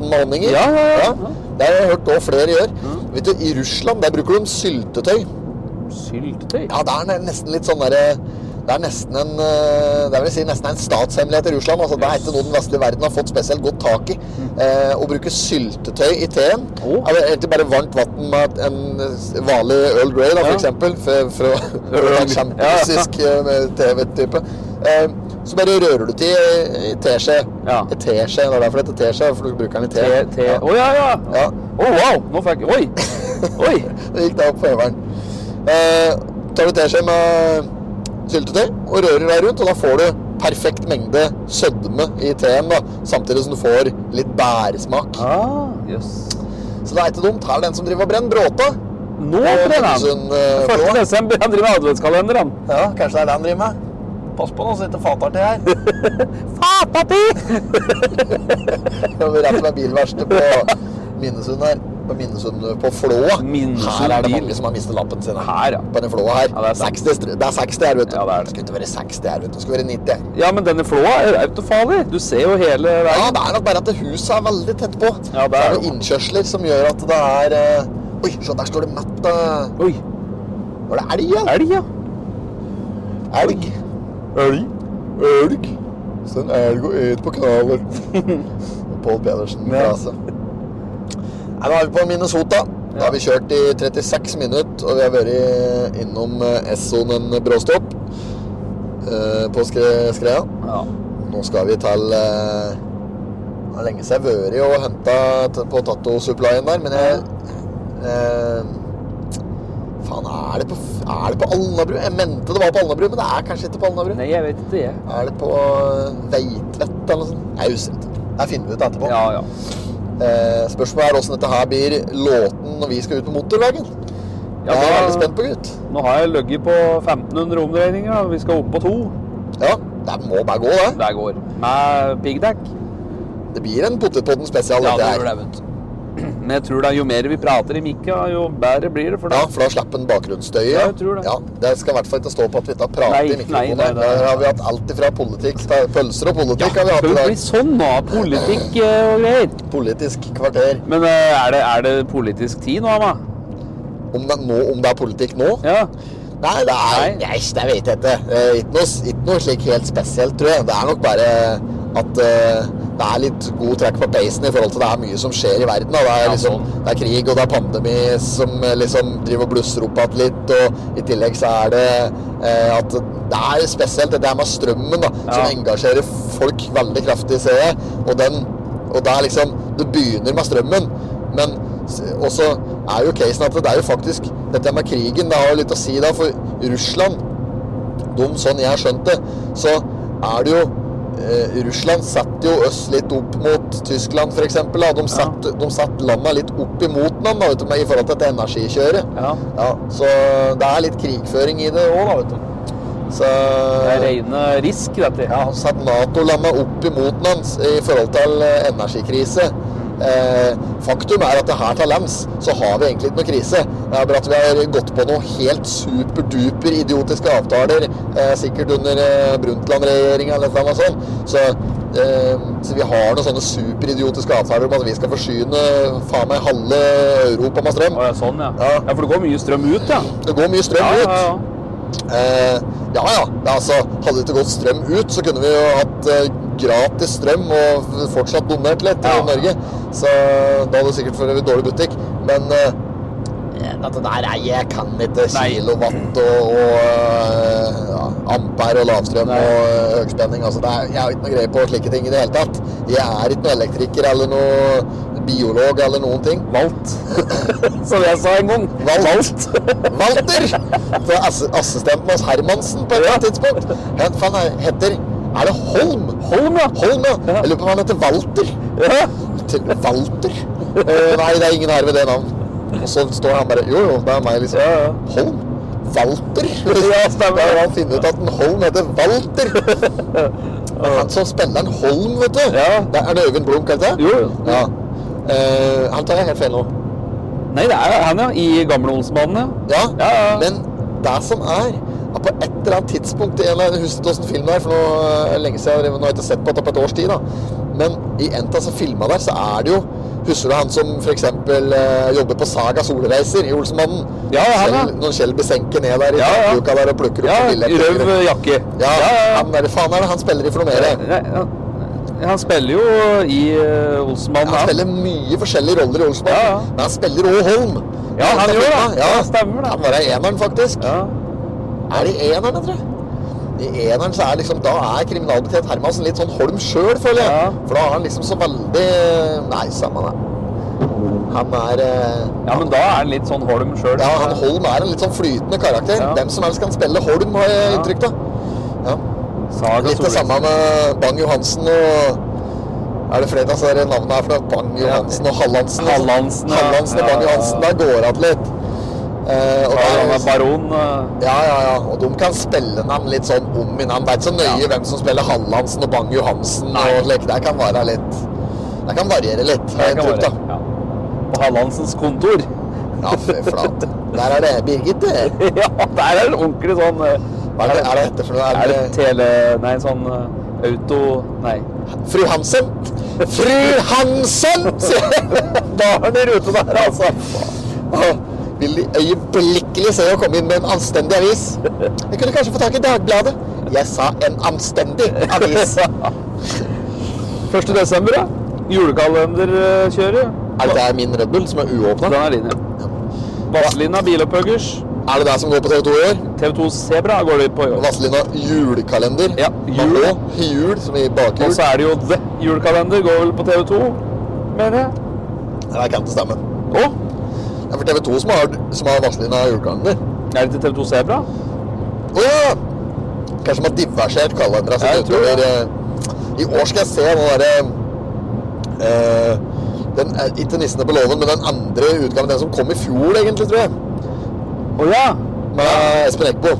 Speaker 5: med honning i.
Speaker 6: Ja, ja, ja.
Speaker 5: Det har jeg hørt òg flere gjør. Vet du, I Russland der bruker de syltetøy.
Speaker 6: Syltetøy.
Speaker 5: Ja, det er ne- nesten litt sånn derre Det er nesten en eh, Det vil si nesten en statshemmelighet i Russland. Altså, det er ikke noe den vestlige verden har fått spesielt godt tak i. Eh, å bruke syltetøy i teen
Speaker 6: Å.
Speaker 5: er Egentlig bare varmt vann med en vanlig Earl Grey, da,
Speaker 6: Ja.
Speaker 5: for eksempel. Fra, fra, fra en kjempesisk TV-type. Eh, så bare rører du til i- i teskje.
Speaker 6: Ja.
Speaker 5: I teskje, Det er derfor det heter teskje, for du bruker den i te.
Speaker 6: Te, te. Å
Speaker 5: Ja.
Speaker 6: ja, ja.
Speaker 5: Ja.
Speaker 6: Å, wow! Nå fikk jeg Oi! Oi!
Speaker 5: Det gikk da opp på øveren. Eh, tar du teskje med syltetøy og rører deg rundt, og da får du perfekt mengde sødme i teen, da, samtidig som du får litt bæresmak.
Speaker 6: Ah, jøss.
Speaker 5: Så det er ikke dumt. Her er den som driver og brenner bråta.
Speaker 6: Nå brenner han!
Speaker 5: Haugesund, eh,
Speaker 6: 1.
Speaker 5: blå.
Speaker 6: desember. Han driver med adventskalender, han.
Speaker 5: Ja, kanskje det er det han driver med. Pass på nå, så ikke fatar til her.
Speaker 6: Fatati!
Speaker 5: Vi er rett ved bilverkstedet på Minnesund her. På Minnesund på Flåa.
Speaker 6: Minnesund
Speaker 5: Her er det
Speaker 6: bil.
Speaker 5: mange som har mistet lappen sin.
Speaker 6: Her, ja.
Speaker 5: På denne flåa her.
Speaker 6: Ja, det er sant.
Speaker 5: 60, str- det er 60 her, vet du.
Speaker 6: Ja, det er det.
Speaker 5: skulle ikke være 60 her, vet du. Det skulle være 90.
Speaker 6: Ja, men denne flåa er autofarlig. Du ser jo hele
Speaker 5: Ja,
Speaker 6: veien.
Speaker 5: det er nok bare at det huset er veldig tett på.
Speaker 6: Ja, det er det.
Speaker 5: noen innkjørsler som gjør at det er eh, Oi, se der står det matt. eh,
Speaker 6: Oi.
Speaker 5: Var det elg? Ja?
Speaker 6: Elg, ja.
Speaker 5: Elg. Elg. Elg. Så en elg og et på knaler. Pål Pedersen.
Speaker 6: Ja.
Speaker 5: frase. Nei, nå er vi på Minnesota. Da har vi kjørt i 36 minutter, og vi har vært innom eh, Essoen en bråstopp eh, på skre skreia.
Speaker 6: ja.
Speaker 5: Nå skal vi til eh, Det er lenge siden jeg har vært og henta t- på Tatto-supplyen der, men jeg eh, Faen, er det, på, f- er det på Alnabru? Jeg mente det var på Alnabru, men det er kanskje ikke på Alnabru.
Speaker 6: Nei, jeg vet ikke, jeg.
Speaker 5: Er det på eh, Veitvet eller noe sånt? Jeg husker ikke. Det finner vi ut etterpå.
Speaker 6: Ja, ja.
Speaker 5: Eh, spørsmålet er åssen dette her blir låten når vi skal ut på motorveien.
Speaker 6: Ja,
Speaker 5: det er jeg
Speaker 6: da-
Speaker 5: veldig spent på, gutt.
Speaker 6: Nå har jeg ligget på 1500 omdreininger, og vi skal opp på to.
Speaker 5: Ja, det må bare gå, det.
Speaker 6: Der går. Med piggdekk.
Speaker 5: Det blir en Potetpodden spesial. dette her.
Speaker 6: vet du. Men jeg tror det er jo mer vi prater i mikka, jo bedre blir det. For
Speaker 5: Ja,
Speaker 6: da
Speaker 5: for da slipper en bakgrunnsstøy.
Speaker 6: Ja, jeg tror det.
Speaker 5: Ja, det skal i hvert fall ikke stå på at vi ikke har pratet
Speaker 6: Nei,
Speaker 5: i
Speaker 6: nei,
Speaker 5: mikrofonen.
Speaker 6: nei, nei, nei.
Speaker 5: Der har vi hatt alt ifra politikk til pølser og politikk. har vi hatt
Speaker 6: skal
Speaker 5: i
Speaker 6: det bli
Speaker 5: dag.
Speaker 6: sånn nå, politikk eh, og greier.
Speaker 5: Politisk kvarter.
Speaker 6: Men eh, er det, er det politisk tid nå, Amma?
Speaker 5: Om det, nå, om det er politikk nå?
Speaker 6: Ja.
Speaker 5: Nei, det er
Speaker 6: Nei.
Speaker 5: Nei, det vet jeg ikke. Eh, Ikke noe, s- ikke noe slik helt spesielt, tror jeg. Det er nok bare at eh, det er litt god trekk på peisen i forhold til det er mye som skjer i verden. Da. Det, er
Speaker 6: Ja, sånn.
Speaker 5: liksom, det er krig og det er pandemi som eh, liksom driver og blusser opp igjen litt. Og i tillegg så er det eh, at det er spesielt det her med strømmen da, som
Speaker 6: Ja.
Speaker 5: engasjerer folk veldig kraftig, ser jeg. Og, den, og det er liksom Det begynner med strømmen, men s- også er jo casen at det er jo faktisk Dette med krigen, det har jo litt å si da, for Russland dum, sånn jeg har skjønt det, så er det jo eh, Russland setter jo oss litt opp mot Tyskland, f.eks. De satte de satt landa litt opp imot den da, vet du, med- i forhold til dette energikjøret.
Speaker 6: ja.
Speaker 5: Ja, så det er litt krigføring i det òg, da, vet du. Så
Speaker 6: Det er rene risk, dette.
Speaker 5: ja, han satt Nato-landa opp imot den hans i forhold til eh, energikrise. Eh, faktum er at det her til lands så har vi egentlig ikke noe krise. Det er bare at vi har gått på noen helt superduper idiotiske avtaler, eh, sikkert under eh, Brundtland-regjeringa eller et eller annet sånt. Så, eh, så vi har noen sånne superidiotiske avtaler om at vi skal forsyne eh, faen meg halve Europa med strøm.
Speaker 6: Å, ja, sånn, ja.
Speaker 5: Ja.
Speaker 6: Ja, for det går mye strøm ut, ja.
Speaker 5: Det går mye
Speaker 6: Ja,
Speaker 5: strøm
Speaker 6: ja,
Speaker 5: ut.
Speaker 6: ja.
Speaker 5: Eh, ja ja, det er altså, hadde det ikke gått strøm ut, så kunne vi jo hatt eh, gratis strøm og f- fortsatt donert litt
Speaker 6: Ja.
Speaker 5: i Norge. Så da hadde det sikkert vært en dårlig butikk. Men eh, Dette der er Jeg kan ikke
Speaker 6: Nei.
Speaker 5: kilowatt og, og eh, ja, ampere og lavstrøm
Speaker 6: Nei.
Speaker 5: og eh, høgspenning. Altså, det er, jeg har ikke noe greie på slike ting i det hele tatt. Jeg er ikke noen elektriker eller noen biolog eller noen ting.
Speaker 6: Valt. Som jeg sa en gang.
Speaker 5: Valt. Walter! Fra ass assistenten hans Hermansen på et eller annet tidspunkt. Han fan, han heter Er det Holm?
Speaker 6: Holm, ja.
Speaker 5: Holm, ja.
Speaker 6: Ja.
Speaker 5: Jeg lurer på om han heter Walter.
Speaker 6: Ja.
Speaker 5: Til Walter? Eh, nei, det er ingen her ved det navnet. Og så står han bare Jo, jo, det er meg, liksom.
Speaker 6: Ja, ja.
Speaker 5: Holm? Walter?
Speaker 6: Ja, stemmer.
Speaker 5: Da har han funnet ut at en Holm heter Walter. Men han som spiller en Holm, vet du
Speaker 6: Ja.
Speaker 5: Det Er det Øyvind Blunk, er det ikke?
Speaker 6: Jo, jo.
Speaker 5: Ja. Eh, han tar jeg helt feil nå.
Speaker 6: Nei, det er han, ja. I gamle Olsmannen,
Speaker 5: Ja.
Speaker 6: Ja, ja.
Speaker 5: Men det som er at på et eller annet tidspunkt i en eller annen huset åssen film det er, for nå eh, lenge siden, jeg har- nå har jeg ikke sett på det på et års tid, da. Men i en av disse filmene der, så er det jo Husker du han som f.eks. Eh, jobber på Saga Solreiser i Olsenmannen?
Speaker 6: Ja, han, ja.
Speaker 5: Kjell- Når Kjell blir senket ned der i
Speaker 6: Ja, ja.
Speaker 5: takluka der og plukker opp
Speaker 6: ja.
Speaker 5: ja,
Speaker 6: ja.
Speaker 5: billetter.
Speaker 6: Røv jakke.
Speaker 5: Ja,
Speaker 6: ja,
Speaker 5: Han der, faen er det han spiller i for noe mer?
Speaker 6: ja. Nei, han- Han spiller jo i eh, Olsenmannen,
Speaker 5: Han spiller mye forskjellige roller i Olsenmannen,
Speaker 6: Ja, ja.
Speaker 5: men han spiller òg Holm.
Speaker 6: Ja, han gjør det.
Speaker 5: Ja,
Speaker 6: Ja, stemmer det.
Speaker 5: Han var i eneren, faktisk.
Speaker 6: Ja.
Speaker 5: Er det i eneren, jeg tror jeg? I eneren så er liksom, da er kriminalbetjent Hermansen litt sånn Holm sjøl, føler jeg.
Speaker 6: Ja.
Speaker 5: For da er han liksom så veldig Nei, samme det. Han er eh,
Speaker 6: ja, men da er han litt sånn Holm sjøl.
Speaker 5: Ja, han Holm er en litt sånn flytende karakter.
Speaker 6: Ja.
Speaker 5: Hvem som helst kan spille Holm, har jeg
Speaker 6: Ja.
Speaker 5: inntrykk av. Ja.
Speaker 6: Saga
Speaker 5: Litt det
Speaker 6: Solheim.
Speaker 5: samme med Bang Johansen og Er det flere av disse her navnene her for noe? Bang Johansen og Hallandsen? og sånn.
Speaker 6: Hallandsen, ja.
Speaker 5: Hallandsen og
Speaker 6: Ja,
Speaker 5: Bang
Speaker 6: ja, ja.
Speaker 5: Johansen. Da går det igjen litt. Eh, og
Speaker 6: Ja,
Speaker 5: der er
Speaker 6: han
Speaker 5: jo-
Speaker 6: er baron. eh.
Speaker 5: Ja, ja, ja. Og de kan spille navn litt sånn om i navn. Det er ikke så nøye
Speaker 6: Ja.
Speaker 5: hvem som spiller Hallandsen og Bang Johansen.
Speaker 6: Nei.
Speaker 5: og slik. Det kan være litt Det kan variere litt. har jeg
Speaker 6: Det kan
Speaker 5: inntrykk av.
Speaker 6: være, ja. På Hallandsens kontor.
Speaker 5: Ja, fy flate. Der er det Birgit. det.
Speaker 6: ja, der er det ordentlig sånn eh,
Speaker 5: Hva er det, er det etter for noe?
Speaker 6: Er det
Speaker 5: Er det
Speaker 6: tele... Nei, sånn eh, auto... Nei.
Speaker 5: Fru Hansen? Fru Hansen! sier jeg. da er det rute der, altså. Åh, Vil de øyeblikkelig se å komme inn med en anstendig avis? Jeg kunne kanskje få tak i Dagbladet. Jeg sa en anstendig avis.
Speaker 6: 1. desember, ja. Julekalenderkjøret.
Speaker 5: Er det der min Red Bull som er uåpna?
Speaker 6: Den er din, ja. Vazelina bilopphuggers.
Speaker 5: Er det det som går på TV2 i år?
Speaker 6: TV2 Sebra går det på i år.
Speaker 5: Vazelina julekalender.
Speaker 6: Ja, jul.
Speaker 5: Og jul, som i bakhjul.
Speaker 6: Og så er det jo The Julekalender går vel på TV2, mener jeg.
Speaker 5: Nei, det kan ikke stemme.
Speaker 6: Å,
Speaker 5: Det er for TV2 som har, som har Vazelina julekalender.
Speaker 6: er det til TV2 Sebra?
Speaker 5: Å ja! Kanskje de har diversert kalendera
Speaker 6: Ja,
Speaker 5: sine
Speaker 6: jeg tror det.
Speaker 5: Altså, utover eh, I år skal jeg se den derre eh, den, eh, Ikke Nissene på låven, men den andre utgaven. Den som kom i fjor, egentlig, tror jeg.
Speaker 6: Å ja.
Speaker 5: Med Espen Eckbo.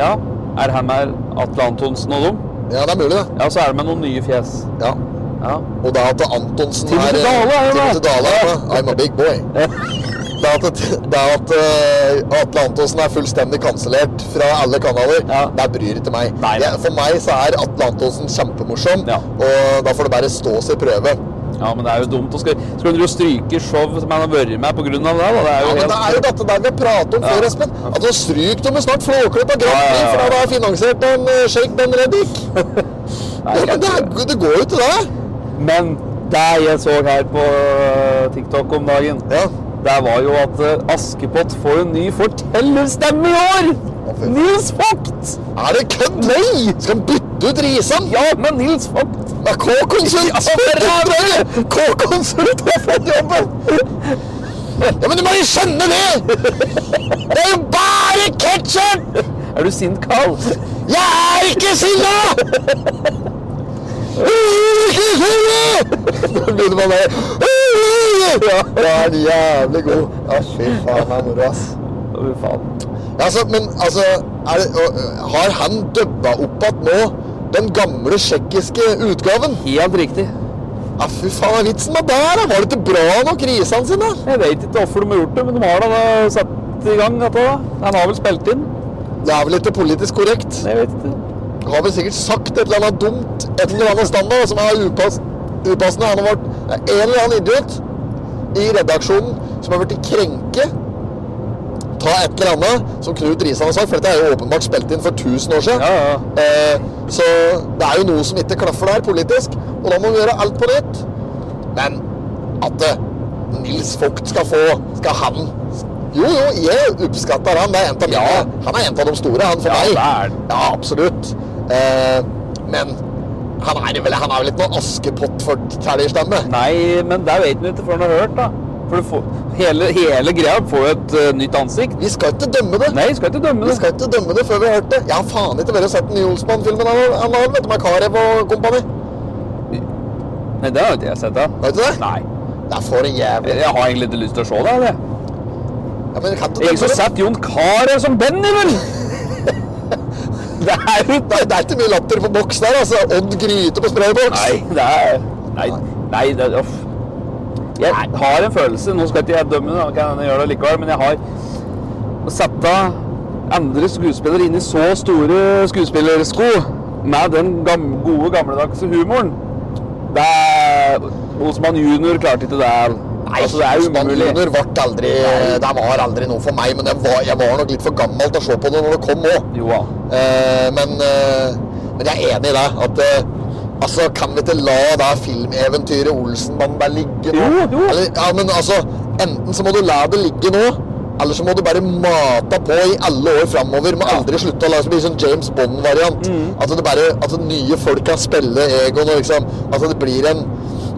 Speaker 6: Ja. Er han med Atle Antonsen og dem?
Speaker 5: Ja, det er mulig, det.
Speaker 6: Ja, så er det med noen nye fjes.
Speaker 5: Ja.
Speaker 6: Ja.
Speaker 5: Og da til Antonsen
Speaker 6: Timothy
Speaker 5: eh,
Speaker 6: Dale er jo med.
Speaker 5: Timothy Dale er med. I'm a big boy. Det at, det at eh, Atle Antonsen er fullstendig kansellert fra alle kanaler,
Speaker 6: Ja.
Speaker 5: det bryr ikke meg.
Speaker 6: Nei, nei.
Speaker 5: Jeg, for meg så er Atle Antonsen kjempemorsom,
Speaker 6: Ja.
Speaker 5: og da får det bare stå sin prøve.
Speaker 6: Ja, men det er jo dumt. å skal, skal du drive og stryke show som han har vært med på grunn av det? Da? Det
Speaker 5: Ja,
Speaker 6: er jo
Speaker 5: men det er jo
Speaker 6: helt...
Speaker 5: dette der vi prater om før,
Speaker 6: Ja.
Speaker 5: Espen. At nå stryk dem med snart Flåklypa Grand
Speaker 6: Ja, ja,
Speaker 5: Prix,
Speaker 6: ja, ja.
Speaker 5: for da har jeg finansiert en eh, Sheikh Ben Reddik.
Speaker 6: Nei,
Speaker 5: Ja, men det,
Speaker 6: jeg-
Speaker 5: er, det går jo til det.
Speaker 6: Men det jeg så her på øh, TikTok om dagen,
Speaker 5: Ja.
Speaker 6: det var jo at øh, Askepott får en ny fortellerstemme i år!
Speaker 5: Å, fy.
Speaker 6: Nils Vogt!
Speaker 5: Er det kødd? Nei! Skal han bytte ut Risan?
Speaker 6: Ja, men Nils Vogt
Speaker 5: Med K-konsult!
Speaker 6: Ja, for
Speaker 5: K-konsult! K-konsult har fått jobben! Ja, men du må jo skjønne det! Det er jo bare ketsjup!
Speaker 6: Er du sint, Carl?
Speaker 5: Jeg er ikke sinna! Ikke sinna! Da begynner man der. Ja, det er en jævlig god. Ja, fy faen, det er moro, ass.
Speaker 6: Å, faen.
Speaker 5: Ja, altså, men altså er det, og, øh, Har han dubba opp igjen nå den gamle tsjekkiske utgaven?
Speaker 6: Helt riktig.
Speaker 5: Ja, fy faen, hva er vitsen med det her? da? Var det ikke bra nok, risene sine?
Speaker 6: Jeg vet ikke hvorfor de har gjort det, men de har da da satt i gang dette. da. Han har vel spilt inn?
Speaker 5: Det er vel ikke politisk korrekt.
Speaker 6: Jeg vet ikke.
Speaker 5: Har vel sikkert sagt et eller annet dumt, et eller annet standard som er upass, upassende. Han har vært det er en eller annen idiot i redaksjonen som har blitt krenket. Ta et eller annet, som Knut Risan har sagt, for dette er jo åpenbart spilt inn for 1000 år siden.
Speaker 6: Ja, ja.
Speaker 5: Eh, så det er jo noe som ikke klaffer der politisk, og da må vi gjøre alt på nytt. Men at det, Nils Vogt skal få. Skal han Jo, jo, jeg oppskatter han. Det er en av mine. Han er en av de store, han for
Speaker 6: Ja,
Speaker 5: meg.
Speaker 6: det er han.
Speaker 5: Ja, absolutt. Eh, men han er vel, han er vel ikke noen askepott for tellerstemme?
Speaker 6: Nei, men det vet han ikke før han har hørt, da. For du får, hele, hele greia får jo et eh, nytt ansikt.
Speaker 5: Vi skal ikke dømme det.
Speaker 6: Nei, skal ikke dømme
Speaker 5: Vi
Speaker 6: det.
Speaker 5: skal ikke dømme det før vi har hørt det. Jeg har faen ikke vært og sett den nye Olsmann-filmen han har- han har, vet du, med Karev og kompani.
Speaker 6: Nei, det har jo ikke jeg sett, da.
Speaker 5: Vet du det?
Speaker 6: Nei.
Speaker 5: Det er for en jævlig
Speaker 6: Jeg har egentlig ikke lyst til å se det. jeg, det.
Speaker 5: ja, men kan ikke
Speaker 6: Ingen som
Speaker 5: dømme det.
Speaker 6: setter Jon Carew som Benny, vel? Det er jo
Speaker 5: Nei, det er ikke mye latter på boks der, altså. Odd Gryte på sprayboks.
Speaker 6: Nei, det er Nei, nei det er uff. Jeg har en følelse Nå skal ikke jeg dømme, da kan hende jeg gjøre det likevel, men jeg har Å sette andre skuespillere inn i så store skuespillersko med den gam, gode, gamledagse humoren Det er Osman junior klarte ikke det. Nei, altså, det er
Speaker 5: Osman
Speaker 6: umulig.
Speaker 5: Junior ble aldri Det var aldri noe for meg, men jeg var, jeg var nok litt for gammel til å se på det når det kom òg.
Speaker 6: Jo da.
Speaker 5: Eh, men, eh, men jeg er enig i det. At eh, altså, kan vi ikke la det filmeventyret Olsenbanden bare ligge nå?
Speaker 6: Jo, jo.
Speaker 5: Eller, ja, men altså, enten så må du la det ligge nå, eller så må du bare mate på i alle år framover. Må aldri slutte å la det bli sånn James Bond-variant. At det bare, at det nye folk kan spille Egon og liksom At det blir en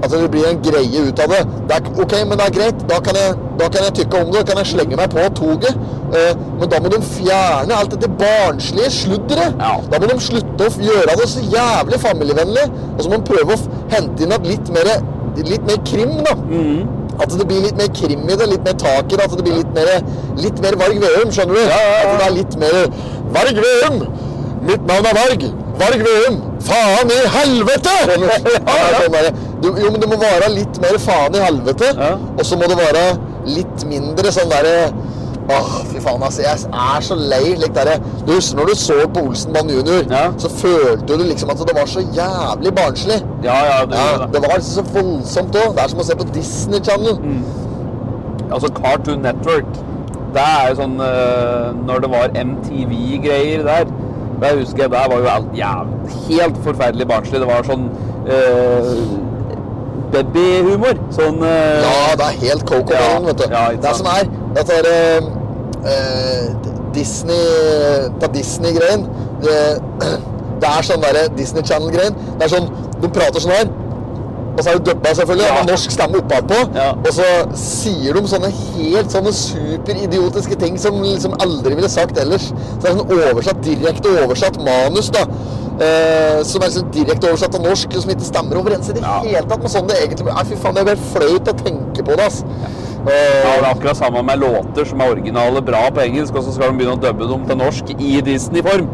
Speaker 5: at det blir en greie ut av det. det er, ok, men det er greit. Da kan, jeg, da kan jeg tykke om det. Da kan jeg slenge meg på toget. Eh, men da må de fjerne alt dette barnslige sludderet.
Speaker 6: Ja.
Speaker 5: Da må de slutte å f- gjøre det så jævlig familievennlig. Og så må de prøve å f- hente inn at litt mer, litt mer krim, da. At det blir litt mer krim i det, litt mer tak i det. At det blir litt mer, litt mer Varg Veum, skjønner du? At det er litt mer Varg Veum! Mitt navn er Varg! Varg Veum! Faen i helvete! Ja, det er sånn der. Du, jo, men det må være litt mer faen i helvete.
Speaker 6: Ja.
Speaker 5: Og så må det være litt mindre sånn derre Åh, fy faen, altså. Jeg er så lei. Like derre- du husker når du så på Olsenbanen junior,
Speaker 6: Ja.
Speaker 5: så følte du liksom at det var så jævlig barnslig.
Speaker 6: Ja, ja, du,
Speaker 5: Ja, det var altså så voldsomt òg. Det er som å se på Disney Channel.
Speaker 6: Altså Cartoon Network. Det er jo sånn eh, Når det var MTV-greier der Der husker jeg, der var jo alt jæv- helt forferdelig barnslig. Det var sånn eh, babyhumor. Sånn eh,
Speaker 5: Ja, det er helt Coco
Speaker 6: Ja,
Speaker 5: Melon, vet du.
Speaker 6: ja, ikke
Speaker 5: det
Speaker 6: sant.
Speaker 5: som er, at det er eh, eh, Disney Det er Disney-greien. Det, det er sånn derre Disney Channel-greien. Det er sånn De prater sånn her. Og så er det dubba, selvfølgelig,
Speaker 6: Ja.
Speaker 5: med norsk stemme oppatpå.
Speaker 6: Ja.
Speaker 5: Og så sier de sånne helt sånne superidiotiske ting som liksom aldri ville sagt ellers. Så det er sånn oversatt, direkte oversatt manus, da. Eh, som er sånn direkte oversatt til norsk, som ikke stemmer overens i det
Speaker 6: Ja.
Speaker 5: hele tatt med sånn det egentlig Nei, fy faen, det er bare flaut å tenke på det, ass.
Speaker 6: Ja,
Speaker 5: Eh,
Speaker 6: det er akkurat samme med låter som er originale bra på engelsk, og så skal de begynne å dubbe dem til norsk i Disney-form.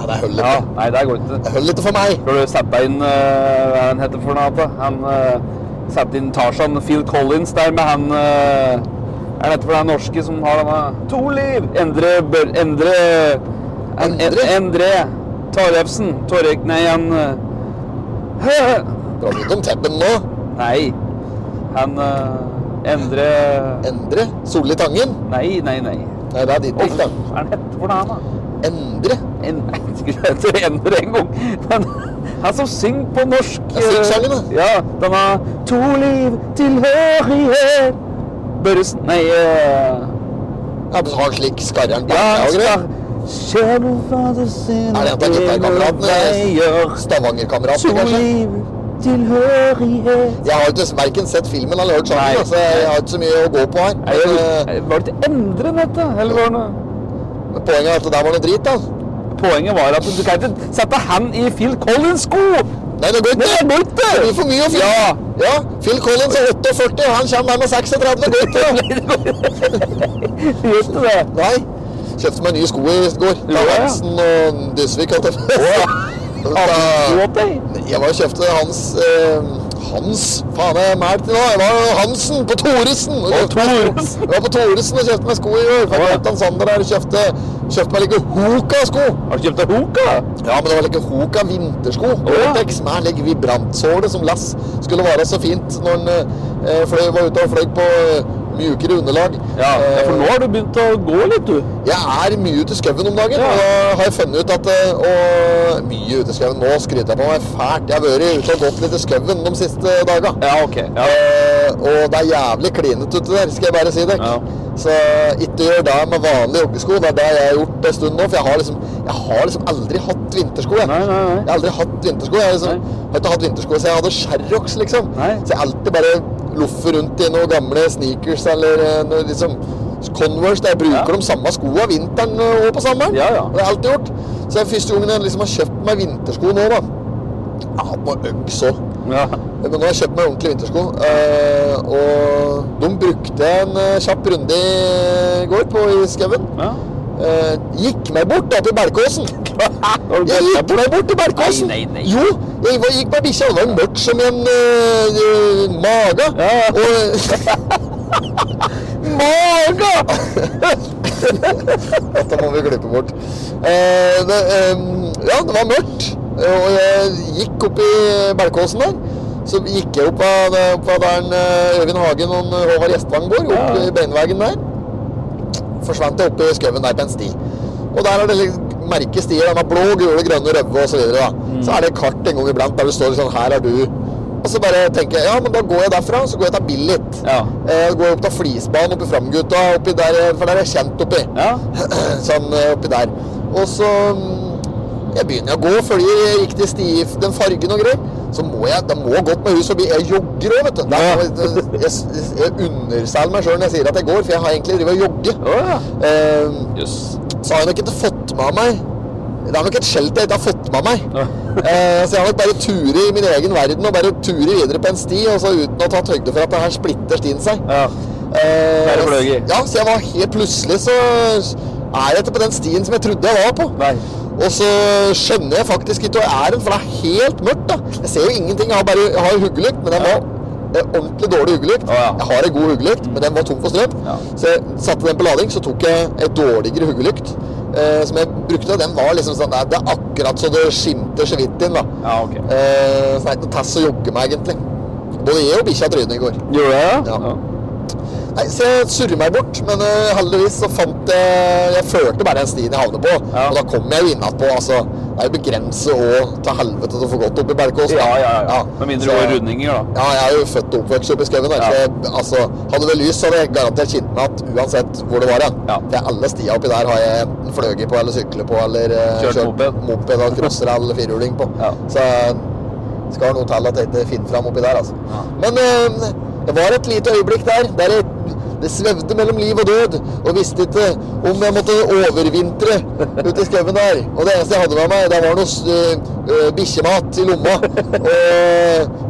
Speaker 5: ja, det holder
Speaker 6: Ja,
Speaker 5: ikke.
Speaker 6: nei, det går ikke.
Speaker 5: Det holder ikke for meg.
Speaker 6: Skal du sette inn eh, Hva er han heter for noe? da? Han eh, setter inn Tarzan Phil Collins der med han eh, Er det for den norske som har denne To liv! Endre Bør... Endre en, en,
Speaker 5: Endre?
Speaker 6: Endre Tarjefsen. Torjek... Nei, han eh,
Speaker 5: Drar du ut om teppen nå?
Speaker 6: Nei. Han eh, Endre
Speaker 5: Endre? Solli Tangen?
Speaker 6: Nei, nei, nei.
Speaker 5: Nei, det er ditt
Speaker 6: Åh,
Speaker 5: dikt, da.
Speaker 6: Hva er han heter for noe, han, da?
Speaker 5: Endre?
Speaker 6: en, jeg skulle hete Endre en gang. Men han som synger på norsk eh,
Speaker 5: Ja, syng sangen, da.
Speaker 6: Ja, den har to liv, tilhørighet Børresen Nei eh,
Speaker 5: Ja, men Har han slik skarreren på
Speaker 6: Ja,
Speaker 5: ja,
Speaker 6: han
Speaker 5: og greier?
Speaker 6: skal Kjære fader sin
Speaker 5: Er det en av gitarkameratene? Stavangerkameratene,
Speaker 6: To
Speaker 5: kanskje?
Speaker 6: liv, tilhørighet
Speaker 5: Jeg har ikke verken sett filmen eller hørt
Speaker 6: Nei.
Speaker 5: sangen, så jeg har ikke så mye å gå på her.
Speaker 6: Nei,
Speaker 5: Men,
Speaker 6: jeg- Var det til Endre dette? Eller var det noe?
Speaker 5: eh, men poenget er at det der var noe drit, da.
Speaker 6: Poenget var at du kan ikke sette han i Phil Collins sko!
Speaker 5: Nei, det går
Speaker 6: Det
Speaker 5: ikke!
Speaker 6: er borte!
Speaker 5: Det blir for mye å finne.
Speaker 6: Ja.
Speaker 5: ja! Phil Collins er 48, og han kommer her med 36. Det går ikke!
Speaker 6: Gjør ikke det.
Speaker 5: Nei. Kjøpte meg nye sko i går.
Speaker 6: Ja,
Speaker 5: Da
Speaker 6: ja.
Speaker 5: Hansen og Dysvik. holdt jeg på å si. Da-
Speaker 6: Gråt deg.
Speaker 5: Jeg var og kjøpte hans eh, Hans? Faen, jeg er mælt i dag. Jeg var Hansen på Thoresen. og kjøpte meg sko.
Speaker 6: Thoresen.
Speaker 5: Jeg var på Thoresen og kjøpte meg sko i går. Fikk
Speaker 6: Å, ja.
Speaker 5: Kaptein Sander der og kjøpte, kjøpte meg like Hoka-sko.
Speaker 6: Har du kjøpt deg hok, da?
Speaker 5: Ja, men det var like Hoka vintersko. Gore-Tex med like vibrant såle som lass skulle være så fint når en eh, fløy, var ute og fløy på eh, mjukere underlag.
Speaker 6: Ja, ja, for
Speaker 5: Eh,
Speaker 6: nå har du begynt å gå litt, du.
Speaker 5: Jeg er mye ute i skauen om dagen,
Speaker 6: Ja.
Speaker 5: og da har jeg funnet ut at eh, og Mye ute i skauen. Nå skryter jeg på meg fælt. Jeg har vært ute og gått litt i skauen de siste daga.
Speaker 6: Ja, ok. Ja.
Speaker 5: Eh, og det er jævlig klinete ute der, skal jeg bare si dere.
Speaker 6: Ja.
Speaker 5: Så ikke gjør det med vanlige joggesko. Det er det jeg har gjort en stund nå. For jeg har liksom, jeg har liksom aldri hatt vintersko. Jeg.
Speaker 6: Nei, nei, nei.
Speaker 5: jeg har aldri hatt vintersko. Jeg har liksom,
Speaker 6: Nei.
Speaker 5: har ikke hatt vintersko så jeg hadde Sherrox, liksom.
Speaker 6: Nei.
Speaker 5: Så jeg alltid bare loffer rundt i noen gamle sneakers eller eh, noe liksom Converse. Der jeg bruker
Speaker 6: Ja.
Speaker 5: de samme skoene vinteren eh, og på sommeren.
Speaker 6: Ja, ja.
Speaker 5: Og det har jeg alltid gjort. Så det er første gangen jeg liksom har kjøpt meg vintersko nå, da. Jeg har på Uggs òg.
Speaker 6: Ja.
Speaker 5: Men nå har jeg kjøpt meg ordentlige vintersko, eh, og de brukte jeg en eh, kjapp runde i går på i skauen.
Speaker 6: ja.
Speaker 5: Eh, gikk meg bort da til Berkåsen.
Speaker 6: Har du
Speaker 5: Jeg
Speaker 6: gått
Speaker 5: gikk meg bort til Berkåsen.
Speaker 6: Nei, nei, nei.
Speaker 5: Jo, jeg var- gikk med bikkja. Det var mørkt som en eh, eh, mage.
Speaker 6: Ja, ja.
Speaker 5: Og Mage! Dette må vi glippe bort. Eh, det, em, ja, det var mørkt. Og jeg gikk opp i Berkåsen der. Så gikk jeg opp av, opp av der en, eh, Øyvind Hagen og en Håvard Gjestvang bor, opp
Speaker 6: Ja.
Speaker 5: i beinveggen der forsvant jeg opp i skauen der på en sti. Og der er det litt merke stier med blå, gule, grønne, røde osv. Så, videre, da.
Speaker 6: Mm.
Speaker 5: så er det kart en gang iblant der det står sånn Her er du. Og så bare tenker jeg ja, men da går jeg derfra, så går jeg til Billit.
Speaker 6: Ja.
Speaker 5: Eh, går opp til Flisbanen oppi Framgutta, oppi der, eh, for der er jeg kjent oppi.
Speaker 6: Ja.
Speaker 5: sånn eh, oppi der. Og så mm, jeg begynner å gå, følger riktig sti, den fargen og greier. Så må jeg, da må jeg godt med hus forbi. Jeg jogger òg, vet du. Da må Jeg, jeg, jeg underselger meg sjøl når jeg sier at jeg går, for jeg har egentlig drevet og jogget.
Speaker 6: Å ja.
Speaker 5: Eh,
Speaker 6: Jøss.
Speaker 5: så har jeg nok ikke fått med meg Det er nok et skjelt jeg ikke har fått med meg.
Speaker 6: Ja.
Speaker 5: Eh, så jeg har nok bare turet i min egen verden og bare turet videre på en sti og så uten å ha tatt høyde for at det her splitter stien seg.
Speaker 6: Ja.
Speaker 5: Eh,
Speaker 6: Der fløy jeg.
Speaker 5: ja, så jeg var helt plutselig så er jeg ikke på den stien som jeg trodde jeg var på.
Speaker 6: Nei.
Speaker 5: Og så skjønner jeg faktisk ikke hva jeg er, for det er helt mørkt. da. Jeg ser jo ingenting. Jeg har bare jeg har jo huggelykt, men den var eh, ordentlig dårlig huggelykt.
Speaker 6: Å, ja.
Speaker 5: Jeg har en god huggelykt, men den var tom for strøm.
Speaker 6: Ja.
Speaker 5: Så jeg satte den på lading, så tok jeg en dårligere huggelykt eh, som jeg brukte. Den var liksom sånn nei, Det er akkurat så det skimter så vidt inn, da.
Speaker 6: Ja, ok.
Speaker 5: Eh, så det er ikke noe tass å jogge med, egentlig. Både jeg og bikkja trynet i går.
Speaker 6: Gjorde jeg det?
Speaker 5: Ja. Nei, så jeg surrer meg bort, men eh, heldigvis så fant jeg Jeg følte bare den stien jeg havnet på,
Speaker 6: Ja.
Speaker 5: og da kom jeg jo innatpå. Altså, det er jo begrenset og til helvete til å få gått opp i Berkåsen.
Speaker 6: Ja, ja, ja. Med mindre du
Speaker 5: så-
Speaker 6: går rundinger, da.
Speaker 5: Ja, jeg er jo født og oppvokst oppe i skauen. der,
Speaker 6: Ja.
Speaker 5: så jeg- Altså, hadde det lys, så hadde jeg garantert kjent meg at uansett hvor det var hen.
Speaker 6: Ja.
Speaker 5: For alle stier oppi der har jeg enten fløyet på eller syklet på eller eh,
Speaker 6: Kjørt moped.
Speaker 5: moped og crosser eller firehjuling på.
Speaker 6: Ja.
Speaker 5: Så det skal noe til at jeg ikke finner fram oppi der, altså.
Speaker 6: Ja.
Speaker 5: Men eh, det var et lite øyeblikk der der jeg, det svevde mellom liv og død, og visste ikke om jeg måtte overvintre ute i skauen der. Og det eneste jeg hadde med meg, det var noe s- eh, eh, bikkjemat i lomma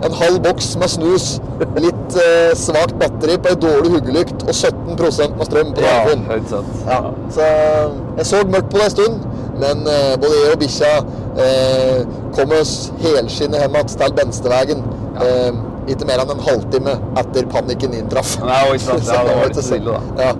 Speaker 5: og en halv boks med snus, litt eh, svakt batteri på ei dårlig huggelykt og 17 med strøm på telefonen.
Speaker 6: Høyt sett.
Speaker 5: Ja, så eh, jeg så mørkt på det en stund, men eh, både jeg og bikkja eh, kom oss helskinnet hjem igjen til Benstevegen. Eh, ikke mer enn en halvtime etter panikken inntraff.
Speaker 6: Nei, og ikke sant. Ja, det var litt stille, da.
Speaker 5: Ja,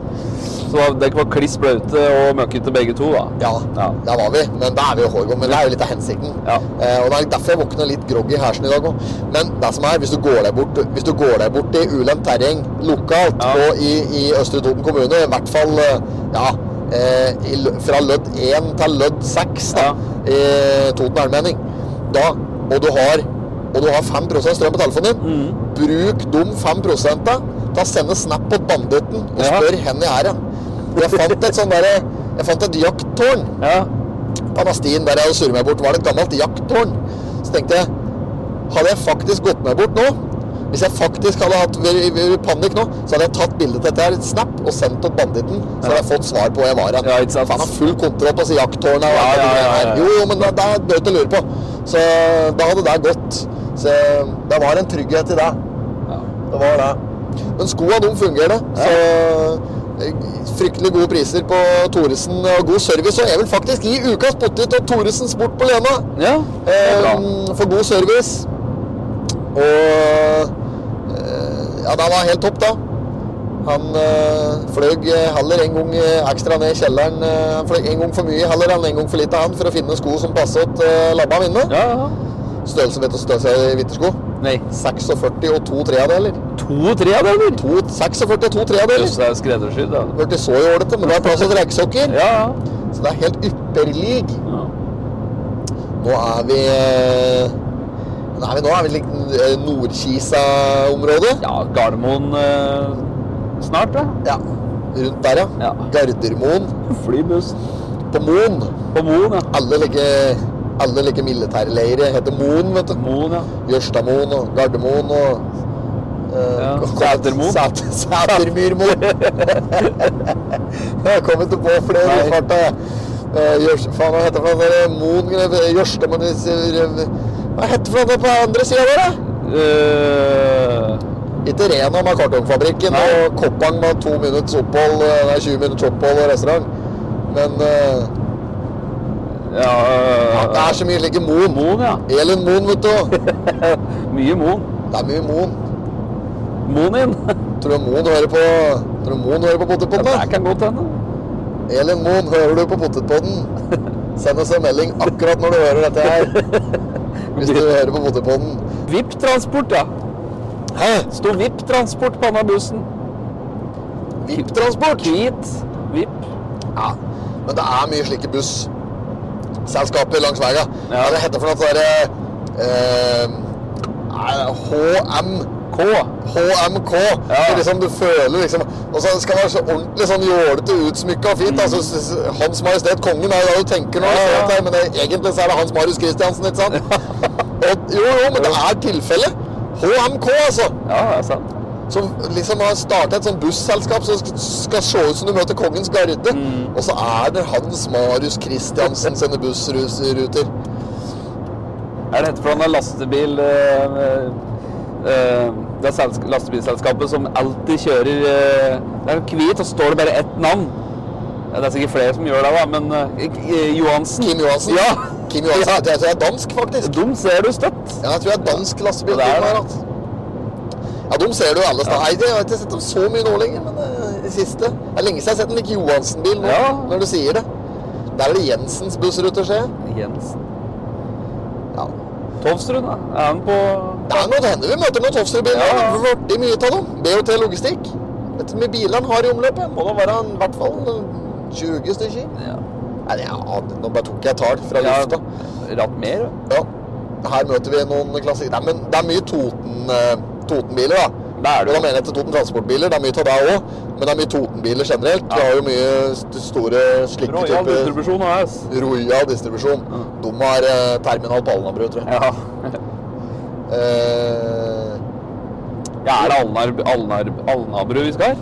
Speaker 6: Så da- dere var kliss blaute og møkkete begge to, da?
Speaker 5: ja,
Speaker 6: Ja.
Speaker 5: der var vi. Men der er vi jo hårgå, men det er jo litt av hensikten.
Speaker 6: Ja.
Speaker 5: Eh, og Det er derfor jeg våkner litt groggy i hersen i dag òg. Men det som er, hvis du går deg bort, hvis du går deg bort i ulendt terreng lokalt
Speaker 6: Ja.
Speaker 5: og i, i Østre Toten kommune, i hvert fall eh, ja, eh, i, lø- fra lødd 1 til lødd 6 da,
Speaker 6: Ja.
Speaker 5: i Toten Elmenning, da, og du har, og du har 5 strøm på telefonen din, bruk de 5 da, til å sende snap på banditten og
Speaker 6: Ja.
Speaker 5: spør hvor jeg er hen. Jeg fant et sånn derre Jeg fant et jakttårn
Speaker 6: Ja.
Speaker 5: på den stien der jeg hadde surret meg bort, var det et gammelt jakttårn. Så tenkte jeg, hadde jeg faktisk gått meg bort nå, hvis jeg faktisk hadde hatt vært vært i panikk nå, så hadde jeg tatt bildet til dette her, et snap, og sendt til banditten, så hadde jeg fått svar på hvor jeg var. hen.
Speaker 6: Ja, ikke sant.
Speaker 5: Faen, jeg har full kontroll på disse jakttårna. og
Speaker 6: Ja,
Speaker 5: alt det
Speaker 6: ja, ja,
Speaker 5: greiene
Speaker 6: ja,
Speaker 5: her.
Speaker 6: ja.
Speaker 5: Jo, jo, men det, det er dødt å lure på. Så da hadde det gått. Så det var en trygghet i det.
Speaker 6: Ja.
Speaker 5: Det var det. Men skoene, de fungerer, så eh, fryktelig gode priser på Thoresen og god service. Og jeg vil faktisk gi ukas potet og Thoresen Sport på Lena
Speaker 6: ja. Det er bra.
Speaker 5: eh, for god service. Og eh, ja, det var helt topp, da. Han eh, fløy heller en gang eh, ekstra ned i kjelleren. eh, Han fløy en gang for mye heller enn en gang for lite han for å finne sko som passer til eh, labba mine.
Speaker 6: Ja, ja.
Speaker 5: Størrelse vet du, størrelse i vintersko.
Speaker 6: Nei.
Speaker 5: 46 og to tredeler.
Speaker 6: To tredeler?
Speaker 5: To, 46 og to tredeler.
Speaker 6: Jøss, det er skreddersydd, da.
Speaker 5: Det ble så jålete, men det er plass til trekksokker.
Speaker 6: Ja,
Speaker 5: Så det er helt ypperlig.
Speaker 6: ja.
Speaker 5: Nå er vi eh, Nå er vi, nå er vi liksom eh, Nordkisa-området.
Speaker 6: Ja, Gardermoen eh, snart, da.
Speaker 5: Ja. Rundt der, ja.
Speaker 6: Ja.
Speaker 5: Gardermoen.
Speaker 6: Flybuss.
Speaker 5: På Moen.
Speaker 6: På Moen, ja.
Speaker 5: Alle ligger, alle ligger militærleire. Heter Moen, vet du.
Speaker 6: Moen, ja.
Speaker 5: Jørstadmoen og Gardermoen og eh,
Speaker 6: Ja,
Speaker 5: kom-
Speaker 6: Sætermoen.
Speaker 5: Sæt, Sætermyrmoen. jeg kommer ikke på flere
Speaker 6: Nei.
Speaker 5: i farta, jeg. Eh, Jørs- faen, hva heter det for noe der? Moen gre- Jørstadmoen eh, Hva heter det for noe på andre sida der, da?
Speaker 6: Eh,
Speaker 5: Ikke Rena med kartongfabrikken
Speaker 6: Nei.
Speaker 5: og Koppang med to minutters opphold, eh, nei, 20 minutters opphold og restaurant. Men eh,
Speaker 6: ja, eh,
Speaker 5: det er så mye like Moen.
Speaker 6: Moen, ja.
Speaker 5: Elin Moen, vet du.
Speaker 6: Mye Moen.
Speaker 5: Det er mye Moen.
Speaker 6: Moen inn.
Speaker 5: Tror du Moen hører på Tror du Moen hører på
Speaker 6: Ja,
Speaker 5: Potetpodden?
Speaker 6: det
Speaker 5: da?
Speaker 6: kan godt hende.
Speaker 5: Elin Moen, hører du på Potetpodden? Send oss en melding akkurat når du hører dette her. Hvis du hører på Potetpodden.
Speaker 6: VIP-transport, ja.
Speaker 5: Hæ?
Speaker 6: Sto VIP-transport på denne bussen.
Speaker 5: VIP-transport?
Speaker 6: Hvit. VIP.
Speaker 5: Ja, men det er mye slike busselskaper langs veia.
Speaker 6: Ja.
Speaker 5: Hva det eh, heter for noe sånt derre HM
Speaker 6: K.
Speaker 5: HMK.
Speaker 6: Ja.
Speaker 5: Det er Liksom du føler liksom Og så skal det være så ordentlig sånn jålete utsmykka og fint. Altså, s- s- Hans Majestet Kongen er jo det du tenker når du
Speaker 6: Ja,
Speaker 5: ser
Speaker 6: ja.
Speaker 5: dette, her, men det, egentlig så er det Hans Marius Christiansen, ikke sant? og, jo, jo, men det er tilfellet. HMK, altså.
Speaker 6: Ja, det er sant.
Speaker 5: Som liksom har starta et sånt busselskap som sk- skal se ut som du møter kongens garde.
Speaker 6: Mm.
Speaker 5: Og så er det Hans Marius Christiansen sine bussruter.
Speaker 6: Er det dette fra den lastebil... eh, eh, det er selsk- lastebilselskapet som alltid kjører eh, Det er hvit, og så står det bare ett navn. Ja, det er sikkert flere som gjør det, da, men eh, eh, Johansen
Speaker 5: Kim Johansen.
Speaker 6: Ja.
Speaker 5: Kim Johansen. Jeg tror jeg er dansk, faktisk.
Speaker 6: Dem ser du støtt.
Speaker 5: Ja, jeg tror jeg er altså. dansk lastebil.
Speaker 6: Ja, det er det.
Speaker 5: Ja, de ser du alle steder. Nei, Jeg har ikke sett dem så mye nå lenger, men eh, det siste. Det er lenge siden jeg har sett en Nick Johansen-bil nå,
Speaker 6: Ja.
Speaker 5: når du sier det. Der er det Jensens bussruter, ser jeg.
Speaker 6: Jensen.
Speaker 5: Ja.
Speaker 6: Tovstrud, da? Er han på
Speaker 5: Det er noe det hender vi møter noen Tofsrud-biler.
Speaker 6: Ja,
Speaker 5: Ja.
Speaker 6: ja.
Speaker 5: Veldig mye av dem. BOT Logistikk. Dette med bilene har i omløpet. Må da være en- i hvert fall en 20 stykker.
Speaker 6: Ja.
Speaker 5: Nei, jeg aner- nå bare tok jeg tall fra
Speaker 6: Ja,
Speaker 5: lufta.
Speaker 6: Ratt mer, da.
Speaker 5: Ja. Her møter vi noen klassikere. Nei, men det er mye Toten, eh, Totenbiler, da.
Speaker 6: Det er
Speaker 5: Og da
Speaker 6: det jo.
Speaker 5: mener jeg ikke Toten transportbiler, det er mye av det òg. Men det er mye Totenbiler generelt. Vi har jo mye st store slike
Speaker 6: Royal
Speaker 5: typer
Speaker 6: distribusjon AS.
Speaker 5: Royal distribusjon. De har eh, terminal på Alnabru, tror jeg.
Speaker 6: Ja.
Speaker 5: Eh,
Speaker 6: ja. Er det Alnar, Alnar, Alnabru vi skal?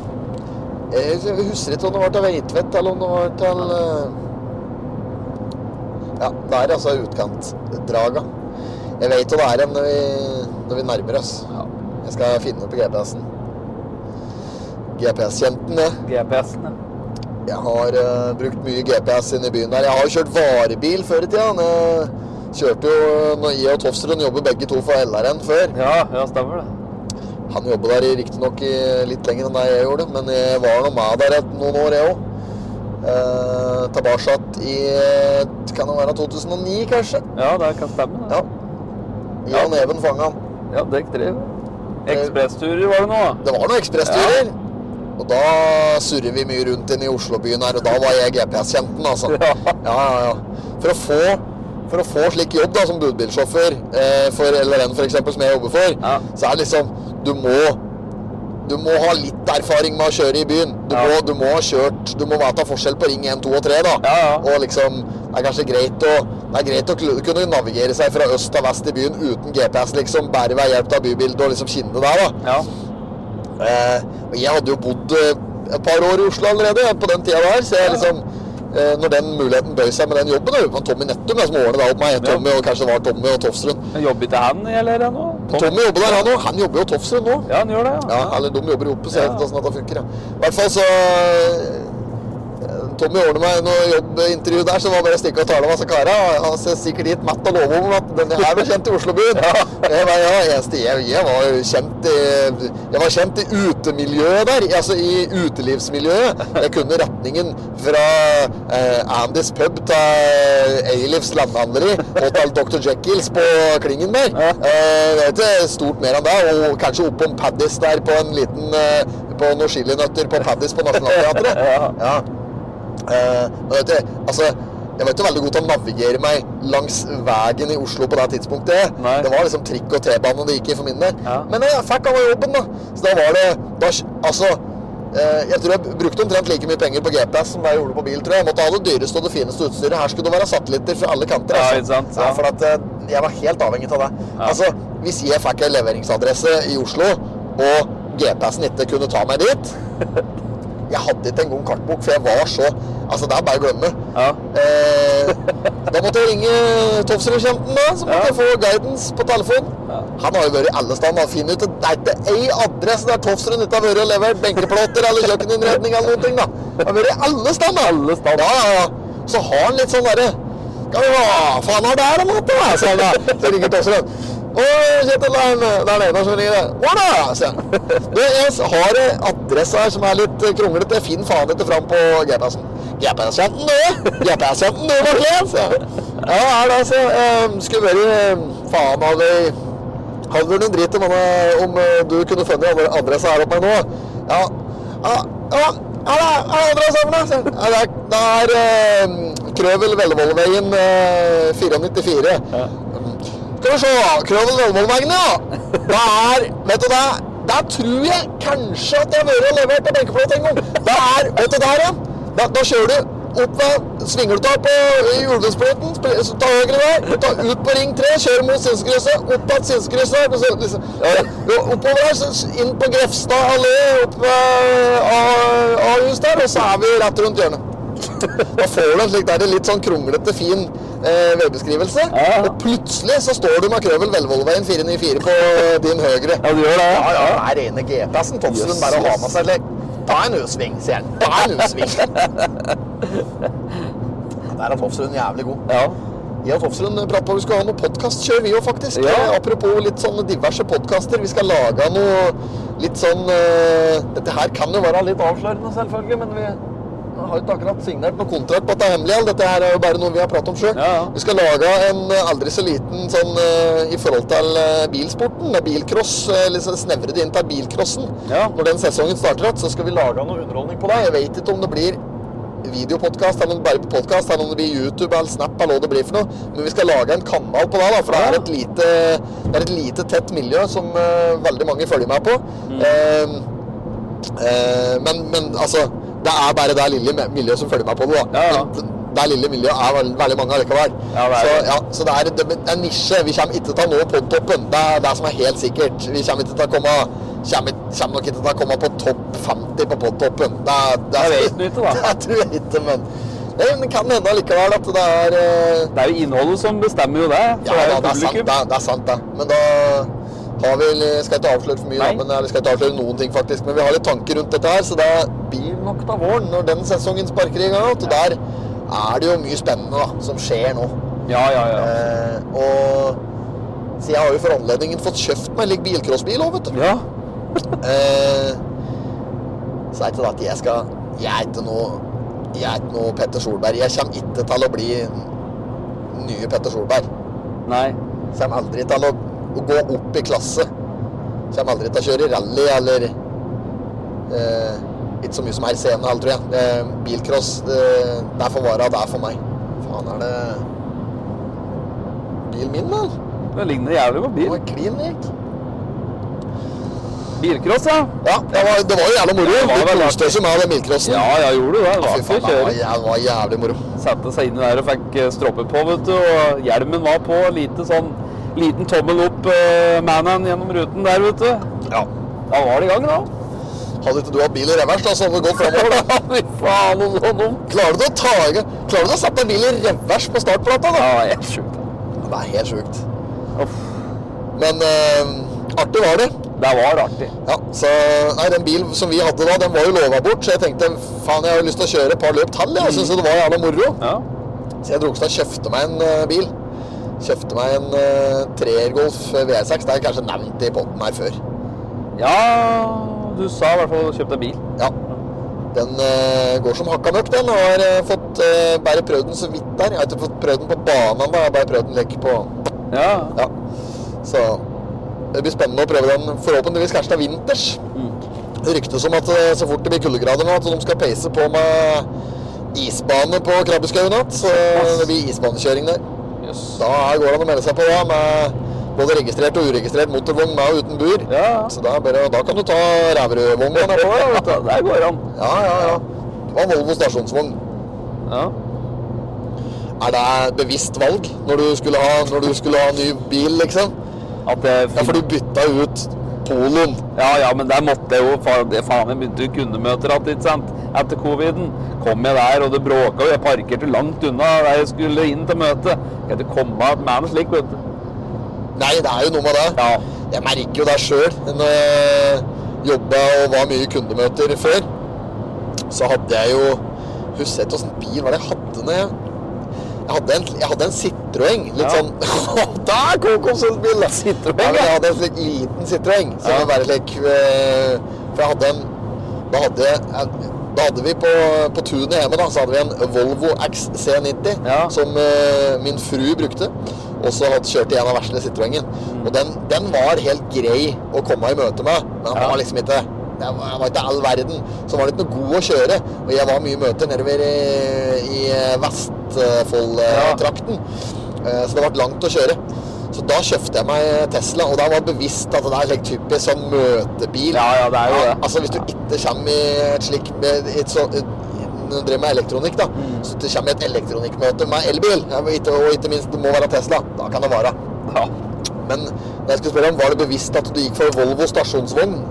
Speaker 5: Jeg husker ikke om det var til Veitvet eller om det var til eh, Ja, det er altså utkantdraga. Jeg vet hva det er igjen når vi, når vi nærmer oss. Jeg skal finne det på GPS-en. GPS-kjenten, jeg.
Speaker 6: GPS-en, ja.
Speaker 5: Jeg har eh, brukt mye GPS inne i byen her. Jeg har jo kjørt varebil før i tida. men Jeg kjørte jo når jeg og Tofstrøn jobber begge to for LRN før.
Speaker 6: Ja, ja, stemmer det.
Speaker 5: Han jobber der i- riktignok i- litt lenger enn jeg gjorde, men jeg var nå med der et noen år, jeg òg. Eh, tilbake i kan det være 2009, kanskje?
Speaker 6: Ja, det kan stemme. det.
Speaker 5: Ja. Jan Even fanga han.
Speaker 6: Ja, dekk tre.
Speaker 5: Eh,
Speaker 6: Ekspressturer var det nå, da.
Speaker 5: Det var noen ekspressturer. Og da surrer vi mye rundt inne i Oslobyen her, og da var jeg GPS-kjenten, altså.
Speaker 6: Ja.
Speaker 5: ja, ja. For å få for å få slik jobb da, som budbilsjåfør eh, for LRN for eksempel, som jeg jobber for,
Speaker 6: Ja.
Speaker 5: så er det liksom du må, du må ha litt erfaring med å kjøre i byen. Du,
Speaker 6: Ja.
Speaker 5: må, du må ha kjørt Du må vite forskjell på ring 1, 2 og 3. da.
Speaker 6: Ja, ja.
Speaker 5: Og liksom, Det er kanskje greit å, det er greit å kl- kunne navigere seg fra øst til vest i byen uten GPS, liksom, bare ved hjelp av bybildet og liksom kinnet der. da.
Speaker 6: Ja.
Speaker 5: Eh, og jeg hadde jo bodd eh, et par år i Oslo allerede på den tida der, så jeg liksom eh, Når den muligheten bøy seg med den jobben da, Det var Tommy Nettum jeg, som ordnet det opp meg. Tommy, og kanskje det var Tommy og Tofsrud.
Speaker 6: Jeg Jobber ikke han i LR nå?
Speaker 5: Tommy jobber der, han òg. Han jobber jo Tofsrud nå.
Speaker 6: Ja, han gjør det, ja.
Speaker 5: Ja, eller de jobber ihop, så jeg vet ikke
Speaker 6: Ja.
Speaker 5: hvordan dette funker. Ja. I hvert fall så eh, Tommy ordner meg noe jobbintervju der, så var det bare å stikke og tale med disse kara. Og Han ser sikkert gitt Matt og love om at denne her ble kjent i Oslobyen. Det var jeg, eneste jeg, jeg var jo kjent i Jeg var kjent i utemiljøet der, altså i utelivsmiljøet. Jeg kunne retningen fra eh, Andys pub til Eilifs landhandleri og til Dr. Jekylls på Klingenberg.
Speaker 6: Ja.
Speaker 5: Eh, det er ikke stort mer enn det. Og kanskje oppom Paddis der på en liten eh, på noen chilinøtter på Paddis på Nationaltheatret.
Speaker 6: Ja.
Speaker 5: Ja. Eh, og vet du, altså, jeg var ikke veldig god til å navigere meg langs veien i Oslo på det tidspunktet.
Speaker 6: Nei.
Speaker 5: Det var liksom trikk og T-bane det gikk i for min del.
Speaker 6: Ja.
Speaker 5: Men eh, jeg fikk av meg jobben, da. Så da var det da, Altså, eh, jeg tror jeg brukte omtrent like mye penger på GPS som jeg gjorde på bil, tror jeg. Jeg måtte ha det dyreste og det fineste utstyret. Her skulle det være satellitter fra alle kanter.
Speaker 6: Ja,
Speaker 5: altså.
Speaker 6: ikke sant?
Speaker 5: Ja,
Speaker 6: Ja.
Speaker 5: for at eh, jeg var helt avhengig av det.
Speaker 6: Ja.
Speaker 5: Altså, hvis jeg fikk en leveringsadresse i Oslo, og GPS-en ikke kunne ta meg dit jeg hadde ikke engang kartbok, for jeg var så Altså, det er bare å glemme.
Speaker 6: Ja.
Speaker 5: Eh, da måtte jeg ringe Tofsrudkjenten, da, så måtte
Speaker 6: Ja.
Speaker 5: jeg få guidance på telefon.
Speaker 6: Ja.
Speaker 5: Han har jo vært i alle steder. Han finner ut at det er ikke ei adresse der Tofsrud ikke har vært og levert benkeplater eller kjøkkeninnredning eller noen ting, da. Han har vært i alle steder. Alle steder. Ja, ja, ja. Så har han litt sånn derre ja, men Hva faen er det her om natta? da?" sier han da. Så ringer Tofsrud. Å, Kjetil, det er en- det er Einar som ringer. Hva da? sier han. Du, jeg har en adresse her som er litt kronglete. Jeg finner faen ikke fram på GPS-en. GPS-kjenten, du! GPS-kjenten, du, Martin! sier jeg. Ja, det er det, altså. Eh, Skulle vært eh, Faen, hadde vi hadde vært noen drit om, han- om eh, du kunne funnet andre adressa her oppe nå. Ja, ja, ja, ja, det er- er det adressa her, da? sier han. Ja, det er, det er eh, Krøvel Vellevollveien eh, 494. Skal vi se, Krøvel Vellevollveien, ja. Det er, vet du det, der tror jeg kanskje at jeg har vært og levert på benkeplate en gang. Det er, vet du der, ja. Da, da kjører du opp ved Svingelta på Ulvesbråten, ta høyre der, ta ut på Ring 3, kjører mot Sinsekrysset, opp til Sinsekrysset, og så liksom, ja, oppover der, så s- inn på Grefstad allé, opp ved A- Ahus der, og så er vi rett rundt hjørnet. Da får du en slik der, litt sånn kronglete, fin eh, veibeskrivelse,
Speaker 6: Ja, ja.
Speaker 5: og plutselig så står du med Krøvel Velvollveien 494 på eh, din høyre.
Speaker 6: Ja, du gjør det?
Speaker 5: Ja, ja, det er rene GPS-en. Tofsrud
Speaker 6: Jøss,
Speaker 5: bare har
Speaker 6: jøss.
Speaker 5: med seg litt. Ta en U-sving, sier han. Ta en U-sving. Der er Tofsrud jævlig god.
Speaker 6: Ja.
Speaker 5: Jeg og Tofsrud prater på at vi skal ha noe podkast, kjører vi jo faktisk.
Speaker 6: Ja.
Speaker 5: Eh, Apropos litt sånne diverse podkaster. Vi skal lage noe litt sånn eh, Dette her kan jo være litt avslørende, selvfølgelig, men vi har jo ikke akkurat signert noen kontrakt på at det er hemmelig. alt. Dette her er jo bare noe vi har pratet om sjøl.
Speaker 6: Ja, ja.
Speaker 5: Vi skal lage en eh, aldri så liten sånn eh, i forhold til eh, bilsporten. Det er bilcross. eh, Liksom snevre det inn til bilcrossen.
Speaker 6: Ja.
Speaker 5: Når den sesongen starter igjen, så skal vi lage noe underholdning på det. Jeg vet ikke om det blir videopodkast, eller om det bare blir podkast, eller om det blir YouTube eller Snap eller hva det blir for noe. Men vi skal lage en kanal på det, da, for det er et lite, det er et lite tett miljø som eh, veldig mange følger med på. Eh, Eh, men, men altså, det er bare det lille me- miljøet som følger meg på det. da.
Speaker 6: Ja, ja.
Speaker 5: Men Det lille miljøet er veldig, veldig mange allikevel.
Speaker 6: Ja, det er
Speaker 5: så
Speaker 6: det.
Speaker 5: ja, så det, er, det er en nisje. Vi kommer ikke til å nå podtoppen. Det er det som er helt sikkert. Vi kommer, ikke til å komme, kommer, kommer nok ikke til å komme på topp 50 på podtoppen. Det, er- det,
Speaker 6: Jeg
Speaker 5: er-
Speaker 6: vet ikke, da.
Speaker 5: Det tror jeg ikke, men det kan hende allikevel at det er eh,
Speaker 6: Det er jo innholdet som bestemmer jo det.
Speaker 5: ja,
Speaker 6: For det er
Speaker 5: da,
Speaker 6: jo
Speaker 5: det er sant,
Speaker 6: publikum.
Speaker 5: det. Det er sant, det. Men da har vi Skal ikke avsløre for mye, da,
Speaker 6: Nei.
Speaker 5: men eller skal ikke avsløre noen ting, faktisk. Men vi har litt tanker rundt dette her, så det blir nok da våren når den sesongen sparker i gang. Og der er det jo mye spennende da, som skjer nå.
Speaker 6: Ja, ja, ja.
Speaker 5: Eh, og så jeg har jo for anledningen fått kjøpt meg en lik bilcrossbil òg, vet du.
Speaker 6: Ja.
Speaker 5: Eh, så er ikke det at jeg skal Jeg er ikke noe Jeg er ikke noe Petter Solberg. Jeg kommer ikke til å bli nye Petter Solberg.
Speaker 6: Nei.
Speaker 5: Kommer aldri til å, å gå opp i klasse. Kommer aldri til å kjøre rally eller eh, Ikke så mye som her scene, heller, tror jeg. Eh, bilcross, det, det er for vara, det er for meg. Faen, er det bilen min, vel?
Speaker 6: Det ligner jævlig på
Speaker 5: Det
Speaker 6: bil.
Speaker 5: var klin lik.
Speaker 6: Bilcross, ja.
Speaker 5: Ja, det var, det var jo jævla moro.
Speaker 6: Det var
Speaker 5: Vi
Speaker 6: vel
Speaker 5: koste oss jo med den bilcrossen.
Speaker 6: Ja, ja, gjorde du det. Det
Speaker 5: Fy
Speaker 6: var
Speaker 5: faen,
Speaker 6: ikke
Speaker 5: det var,
Speaker 6: kjøring.
Speaker 5: jæ- det var jævlig moro.
Speaker 6: Satte seg inn der og fikk eh, stroppe på, vet du. Og hjelmen var på. Lite sånn liten tommel opp eh, mannen gjennom ruten der, vet du.
Speaker 5: Ja.
Speaker 6: Da var det i gang, da.
Speaker 5: Hadde ikke du hatt bil i revers, da, så hadde det gått framover. da.
Speaker 6: Fy faen, og så dumt.
Speaker 5: Klarer du å ta i gang- Klarer du å sette en bil i revers på startplata, da?
Speaker 6: Ja, helt sjukt.
Speaker 5: Det er helt sjukt.
Speaker 6: Uff.
Speaker 5: Men eh, Artig var det.
Speaker 6: Det var artig.
Speaker 5: Ja, så, nei, Den bilen som vi hadde da, den var jo lova bort, så jeg tenkte faen, jeg har jo lyst til å kjøre et par løp til. Jeg syns det var jævla moro.
Speaker 6: Ja.
Speaker 5: Så jeg dro til å kjøpte meg en eh, bil. Kjøpte meg en eh, treergolf V6. Det er kanskje nevnt i potten her før.
Speaker 6: ja, du sa i hvert fall du kjøpte bil.
Speaker 5: Ja. Den eh, går som hakka møkk, den. Og har eh, fått eh, bare prøvd den så vidt der. Jeg har ikke fått prøvd den på banen, da. Jeg har bare prøvd den lekk på
Speaker 6: Ja.
Speaker 5: Ja. Så det blir spennende å prøve den. Forhåpentligvis kanskje det er vinters. Det ryktes om at eh, så fort det blir kuldegrader nå, at de skal peise på med isbane på Krabbeskauen igjen. Så det blir isbanekjøring der.
Speaker 6: Jøss.
Speaker 5: Da går det an å melde seg på da, med både registrert og uregistrert motorvogn med og uten bur.
Speaker 6: Ja, ja.
Speaker 5: Så da, er bare, da kan du ta Ræverødvogna
Speaker 6: Det
Speaker 5: nedpå der. vet du.
Speaker 6: Der går han.
Speaker 5: Ja, ja, ja. Det var Volvo stasjonsvogn.
Speaker 6: Ja.
Speaker 5: Er det et bevisst valg når du skulle ha, når du skulle ha ny bil, liksom?
Speaker 6: At det
Speaker 5: Ja, for du bytta ut poloen.
Speaker 6: Ja, ja, men der måtte jeg jo fa- det Faen, jeg begynte jo kundemøter igjen, ikke sant? Etter coviden. Kom jeg der, og det bråka, og jeg parkerte langt unna der jeg skulle inn til møtet. Kan du komme igjen med noe slikt, vet du?
Speaker 5: Nei, det er jo noe med det.
Speaker 6: Ja.
Speaker 5: Jeg merker jo det sjøl. Når jeg jobba og var mye i kundemøter før, så hadde jeg jo Husker jeg ikke åssen bil var det jeg hadde når jeg Jeg hadde en, jeg hadde en Citroën. Litt
Speaker 6: Ja.
Speaker 5: sånn Det er konkurransebil!
Speaker 6: Citroën,
Speaker 5: ja. men Jeg
Speaker 6: ja.
Speaker 5: hadde en slik liten Citroën. Som
Speaker 6: Ja.
Speaker 5: var bare slik eh, For jeg hadde en Da hadde, jeg, da hadde vi på, på tunet hjemme da, så hadde vi en Volvo XC90
Speaker 6: Ja.
Speaker 5: som eh, min fru brukte. Og så hadde kjørt i en av verslene Citroëngen.
Speaker 6: Mm.
Speaker 5: Og den, den var helt grei å komme i møte med, men den
Speaker 6: Ja.
Speaker 5: var liksom ikke jeg var, jeg var ikke all verden, så var det ikke noe god å kjøre. Og jeg var mye i møter nedover i, i eh,
Speaker 6: Ja.
Speaker 5: Vestfold-trakten. Eh, Så det ble langt å kjøre. Så da kjøpte jeg meg Tesla, og da var jeg bevisst at det er slik typisk sånn møtebil.
Speaker 6: Ja, ja, det er jo det.
Speaker 5: Altså Hvis du ikke kommer i et slik med, et så, et, Når du driver med elektronikk, da,
Speaker 6: Mm.
Speaker 5: så du kommer i et elektronikkmøte med elbil, ja, og ikke, og ikke minst det må være Tesla, da kan det vare.
Speaker 6: ja.
Speaker 5: Men jeg skulle spørre om, var det bevisst at du gikk for Volvo stasjonsvogn?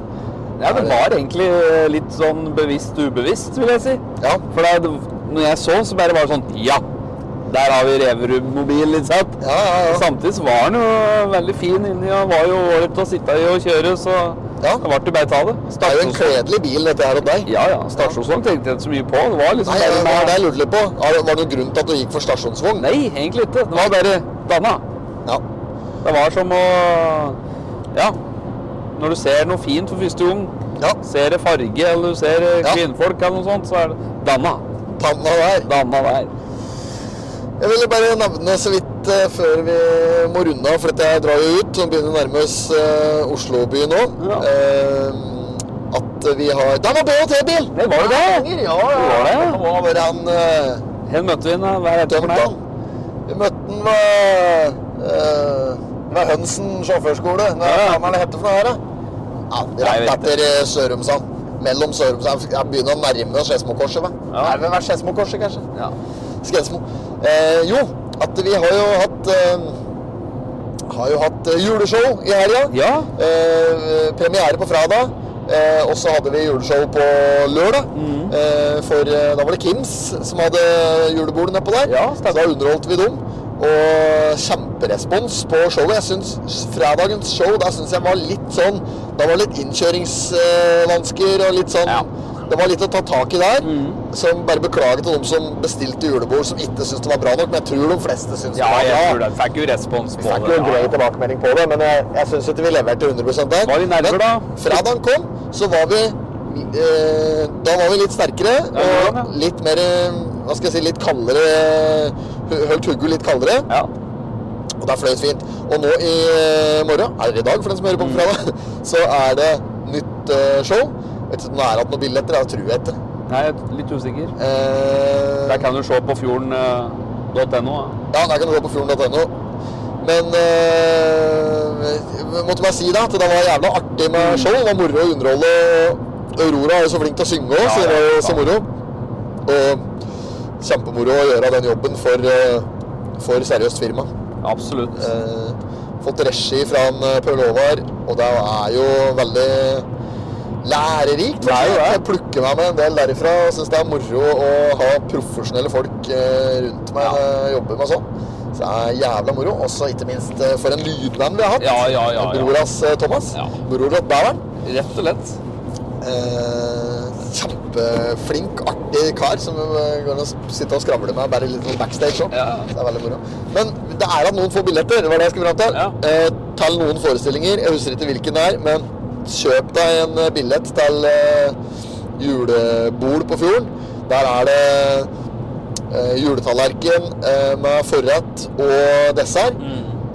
Speaker 6: Ja, det var egentlig litt sånn bevisst ubevisst, vil jeg si.
Speaker 5: Ja.
Speaker 6: For da, når jeg så, så bare var det sånn Ja, der har vi Reverud-mobil, ikke sant?
Speaker 5: Ja, ja, ja.
Speaker 6: Samtidig så var den jo veldig fin inni og var jo ålreit å sitte i og kjøre, så
Speaker 5: Ja.
Speaker 6: da ble det bare å ta det.
Speaker 5: Det er jo en
Speaker 6: Stasjonsvogn-
Speaker 5: kledelig bil, dette her og deg.
Speaker 6: Ja, ja. Stasjonsvogn tenkte jeg ikke så mye på. Det var liksom
Speaker 5: Nei, det var det
Speaker 6: bare med
Speaker 5: jeg lurte litt på. Var det var det noen grunn til at du gikk for stasjonsvogn?
Speaker 6: Nei, egentlig ikke. Det var bare danna.
Speaker 5: Ja.
Speaker 6: Det var som å Ja. Når du ser noe fint for første gang,
Speaker 5: ja.
Speaker 6: ser det farge eller du ser eh,
Speaker 5: Ja.
Speaker 6: kvinnfolk eller noe sånt, så er det danna.
Speaker 5: Panna der.
Speaker 6: Danna der.
Speaker 5: Jeg ville bare nevne så vidt eh, før vi må runde av, for at jeg drar jo ut og begynner å nærme oss eh, Oslo-by nå.
Speaker 6: Ja.
Speaker 5: Eh, at vi har Der var BHT-bil!
Speaker 6: Det var jo det.
Speaker 5: Ja, ja.
Speaker 6: Det var det.
Speaker 5: Det var bare han eh,
Speaker 6: Her møtte vi henne hver etter
Speaker 5: dømte han. Vi møtte han ved, eh, ved Hønsen sjåførskole. Hva
Speaker 6: Ja.
Speaker 5: faen er det hette for noe her, da? Ja,
Speaker 6: Nei, jeg
Speaker 5: rett
Speaker 6: vet
Speaker 5: etter eh, Sørumsand. Mellom Sørumsand Jeg begynner å nærme oss Skedsmokorset, hva?
Speaker 6: Ja.
Speaker 5: Er det vel Skedsmokorset, kanskje?
Speaker 6: Ja.
Speaker 5: Skedsmo. Eh, jo, at vi har jo hatt eh, Har jo hatt eh, juleshow i helga.
Speaker 6: Ja.
Speaker 5: Eh, premiere på fredag. Eh, og så hadde vi juleshow på lørdag.
Speaker 6: Mm.
Speaker 5: Eh, for eh, da var det Kims som hadde julebord nedpå der.
Speaker 6: Ja,
Speaker 5: så
Speaker 6: stemmer.
Speaker 5: da underholdt vi dem. Og kjemperespons på showet. Jeg synes Fredagens show da synes jeg var litt sånn Da var det litt innkjøringsvansker og litt sånn
Speaker 6: Ja. Mm.
Speaker 5: Det var litt å ta tak i der. Som bare beklager til dem som bestilte julebord som ikke syntes det var bra nok. Men jeg tror de fleste syntes
Speaker 6: Ja,
Speaker 5: det
Speaker 6: jeg
Speaker 5: var
Speaker 6: tror
Speaker 5: bra.
Speaker 6: det. Fikk jo respons
Speaker 5: Vi
Speaker 6: på
Speaker 5: fikk
Speaker 6: det.
Speaker 5: jo en grei tilbakemelding på det, men jeg, jeg syns ikke vi leverte 100 der.
Speaker 6: Var vi nerver, da?
Speaker 5: Men Fredagen kom, så var vi eh, Da var vi litt sterkere
Speaker 6: det var
Speaker 5: og
Speaker 6: det.
Speaker 5: litt mer eh, Hva skal jeg si Litt kaldere hu- Holdt hugget litt kaldere.
Speaker 6: Ja.
Speaker 5: Og det er fløyt fint. Og nå i eh, morgen, er det i dag for den som hører på
Speaker 6: Mm.
Speaker 5: på fredag, så er det nytt eh, show. Vet ikke om det er igjen noen billetter. Det tror jeg ikke.
Speaker 6: Nei, jeg er litt usikker.
Speaker 5: Eh,
Speaker 6: Der kan du se på eh, fjorden.no.
Speaker 5: Ja, der kan du gå på fjorden.no. Men eh, jeg måtte bare si da, at det var jævla artig
Speaker 6: Mm.
Speaker 5: med show. Det var moro å underholde. Aurora er jo så flink til å synge òg,
Speaker 6: Ja,
Speaker 5: så det var
Speaker 6: ja,
Speaker 5: jo så moro. Og kjempemoro å gjøre den jobben for, eh, for seriøst firma.
Speaker 6: Absolutt.
Speaker 5: Eh, fått regi fra en eh, Paul Håvard, og det er jo veldig lærerikt.
Speaker 6: Det er jo det.
Speaker 5: Jeg plukker meg med en del derifra og syns det er moro å ha profesjonelle folk eh, rundt meg
Speaker 6: Ja.
Speaker 5: når jeg jobber med sånn. Så det er jævla moro. Også ikke minst eh, for en lydband vi har hatt.
Speaker 6: Ja, ja, ja, ja.
Speaker 5: Broras eh, Thomas.
Speaker 6: Ja.
Speaker 5: Brorot Bæveren.
Speaker 6: Rett og lett.
Speaker 5: Eh, kjempeflink, artig kar som eh, går og s- sitter og skravler med bare litt sånn backstage òg.
Speaker 6: Ja.
Speaker 5: Det er veldig moro. Men det er at noen får billetter, det var det jeg skulle fram til.
Speaker 6: Ja.
Speaker 5: Eh, til noen forestillinger, jeg husker ikke hvilken det er, men kjøp deg en eh, billett til eh, julebord på fjorden. Der er det eh, juletallerken eh, med forrett og dessert.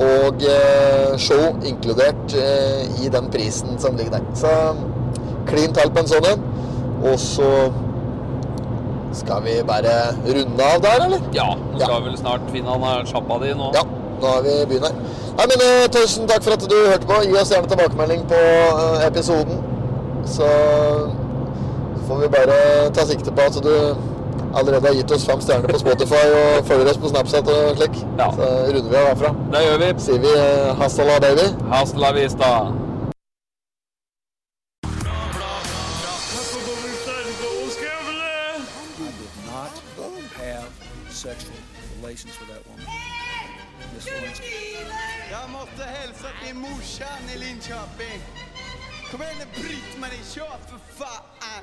Speaker 5: Og eh, show inkludert eh, i den prisen som ligger der. Så klin til på en sånn en. Og så skal vi bare runde av der, eller?
Speaker 6: Ja, nå skal vi vel snart finne han her sjappa di nå.
Speaker 5: Ja, nå er vi i byen her. Nei, men eh, Tusen takk for at du hørte på. Gi oss gjerne tilbakemelding på eh, episoden. Så får vi bare ta sikte på at du allerede har gitt oss fem stjerner på Spotify og følger oss på Snapchat og slik.
Speaker 6: Ja.
Speaker 5: Så runder vi av herfra.
Speaker 6: Det gjør vi.
Speaker 5: Sier vi eh, hasta la baby.
Speaker 6: Hasta la vista.
Speaker 1: I did not have sexual relations with that woman. Miss Lewinsky.
Speaker 2: Jag måste hälsa till morsan i Linköping. Kom igen nu Britt-Marie, kör för fan!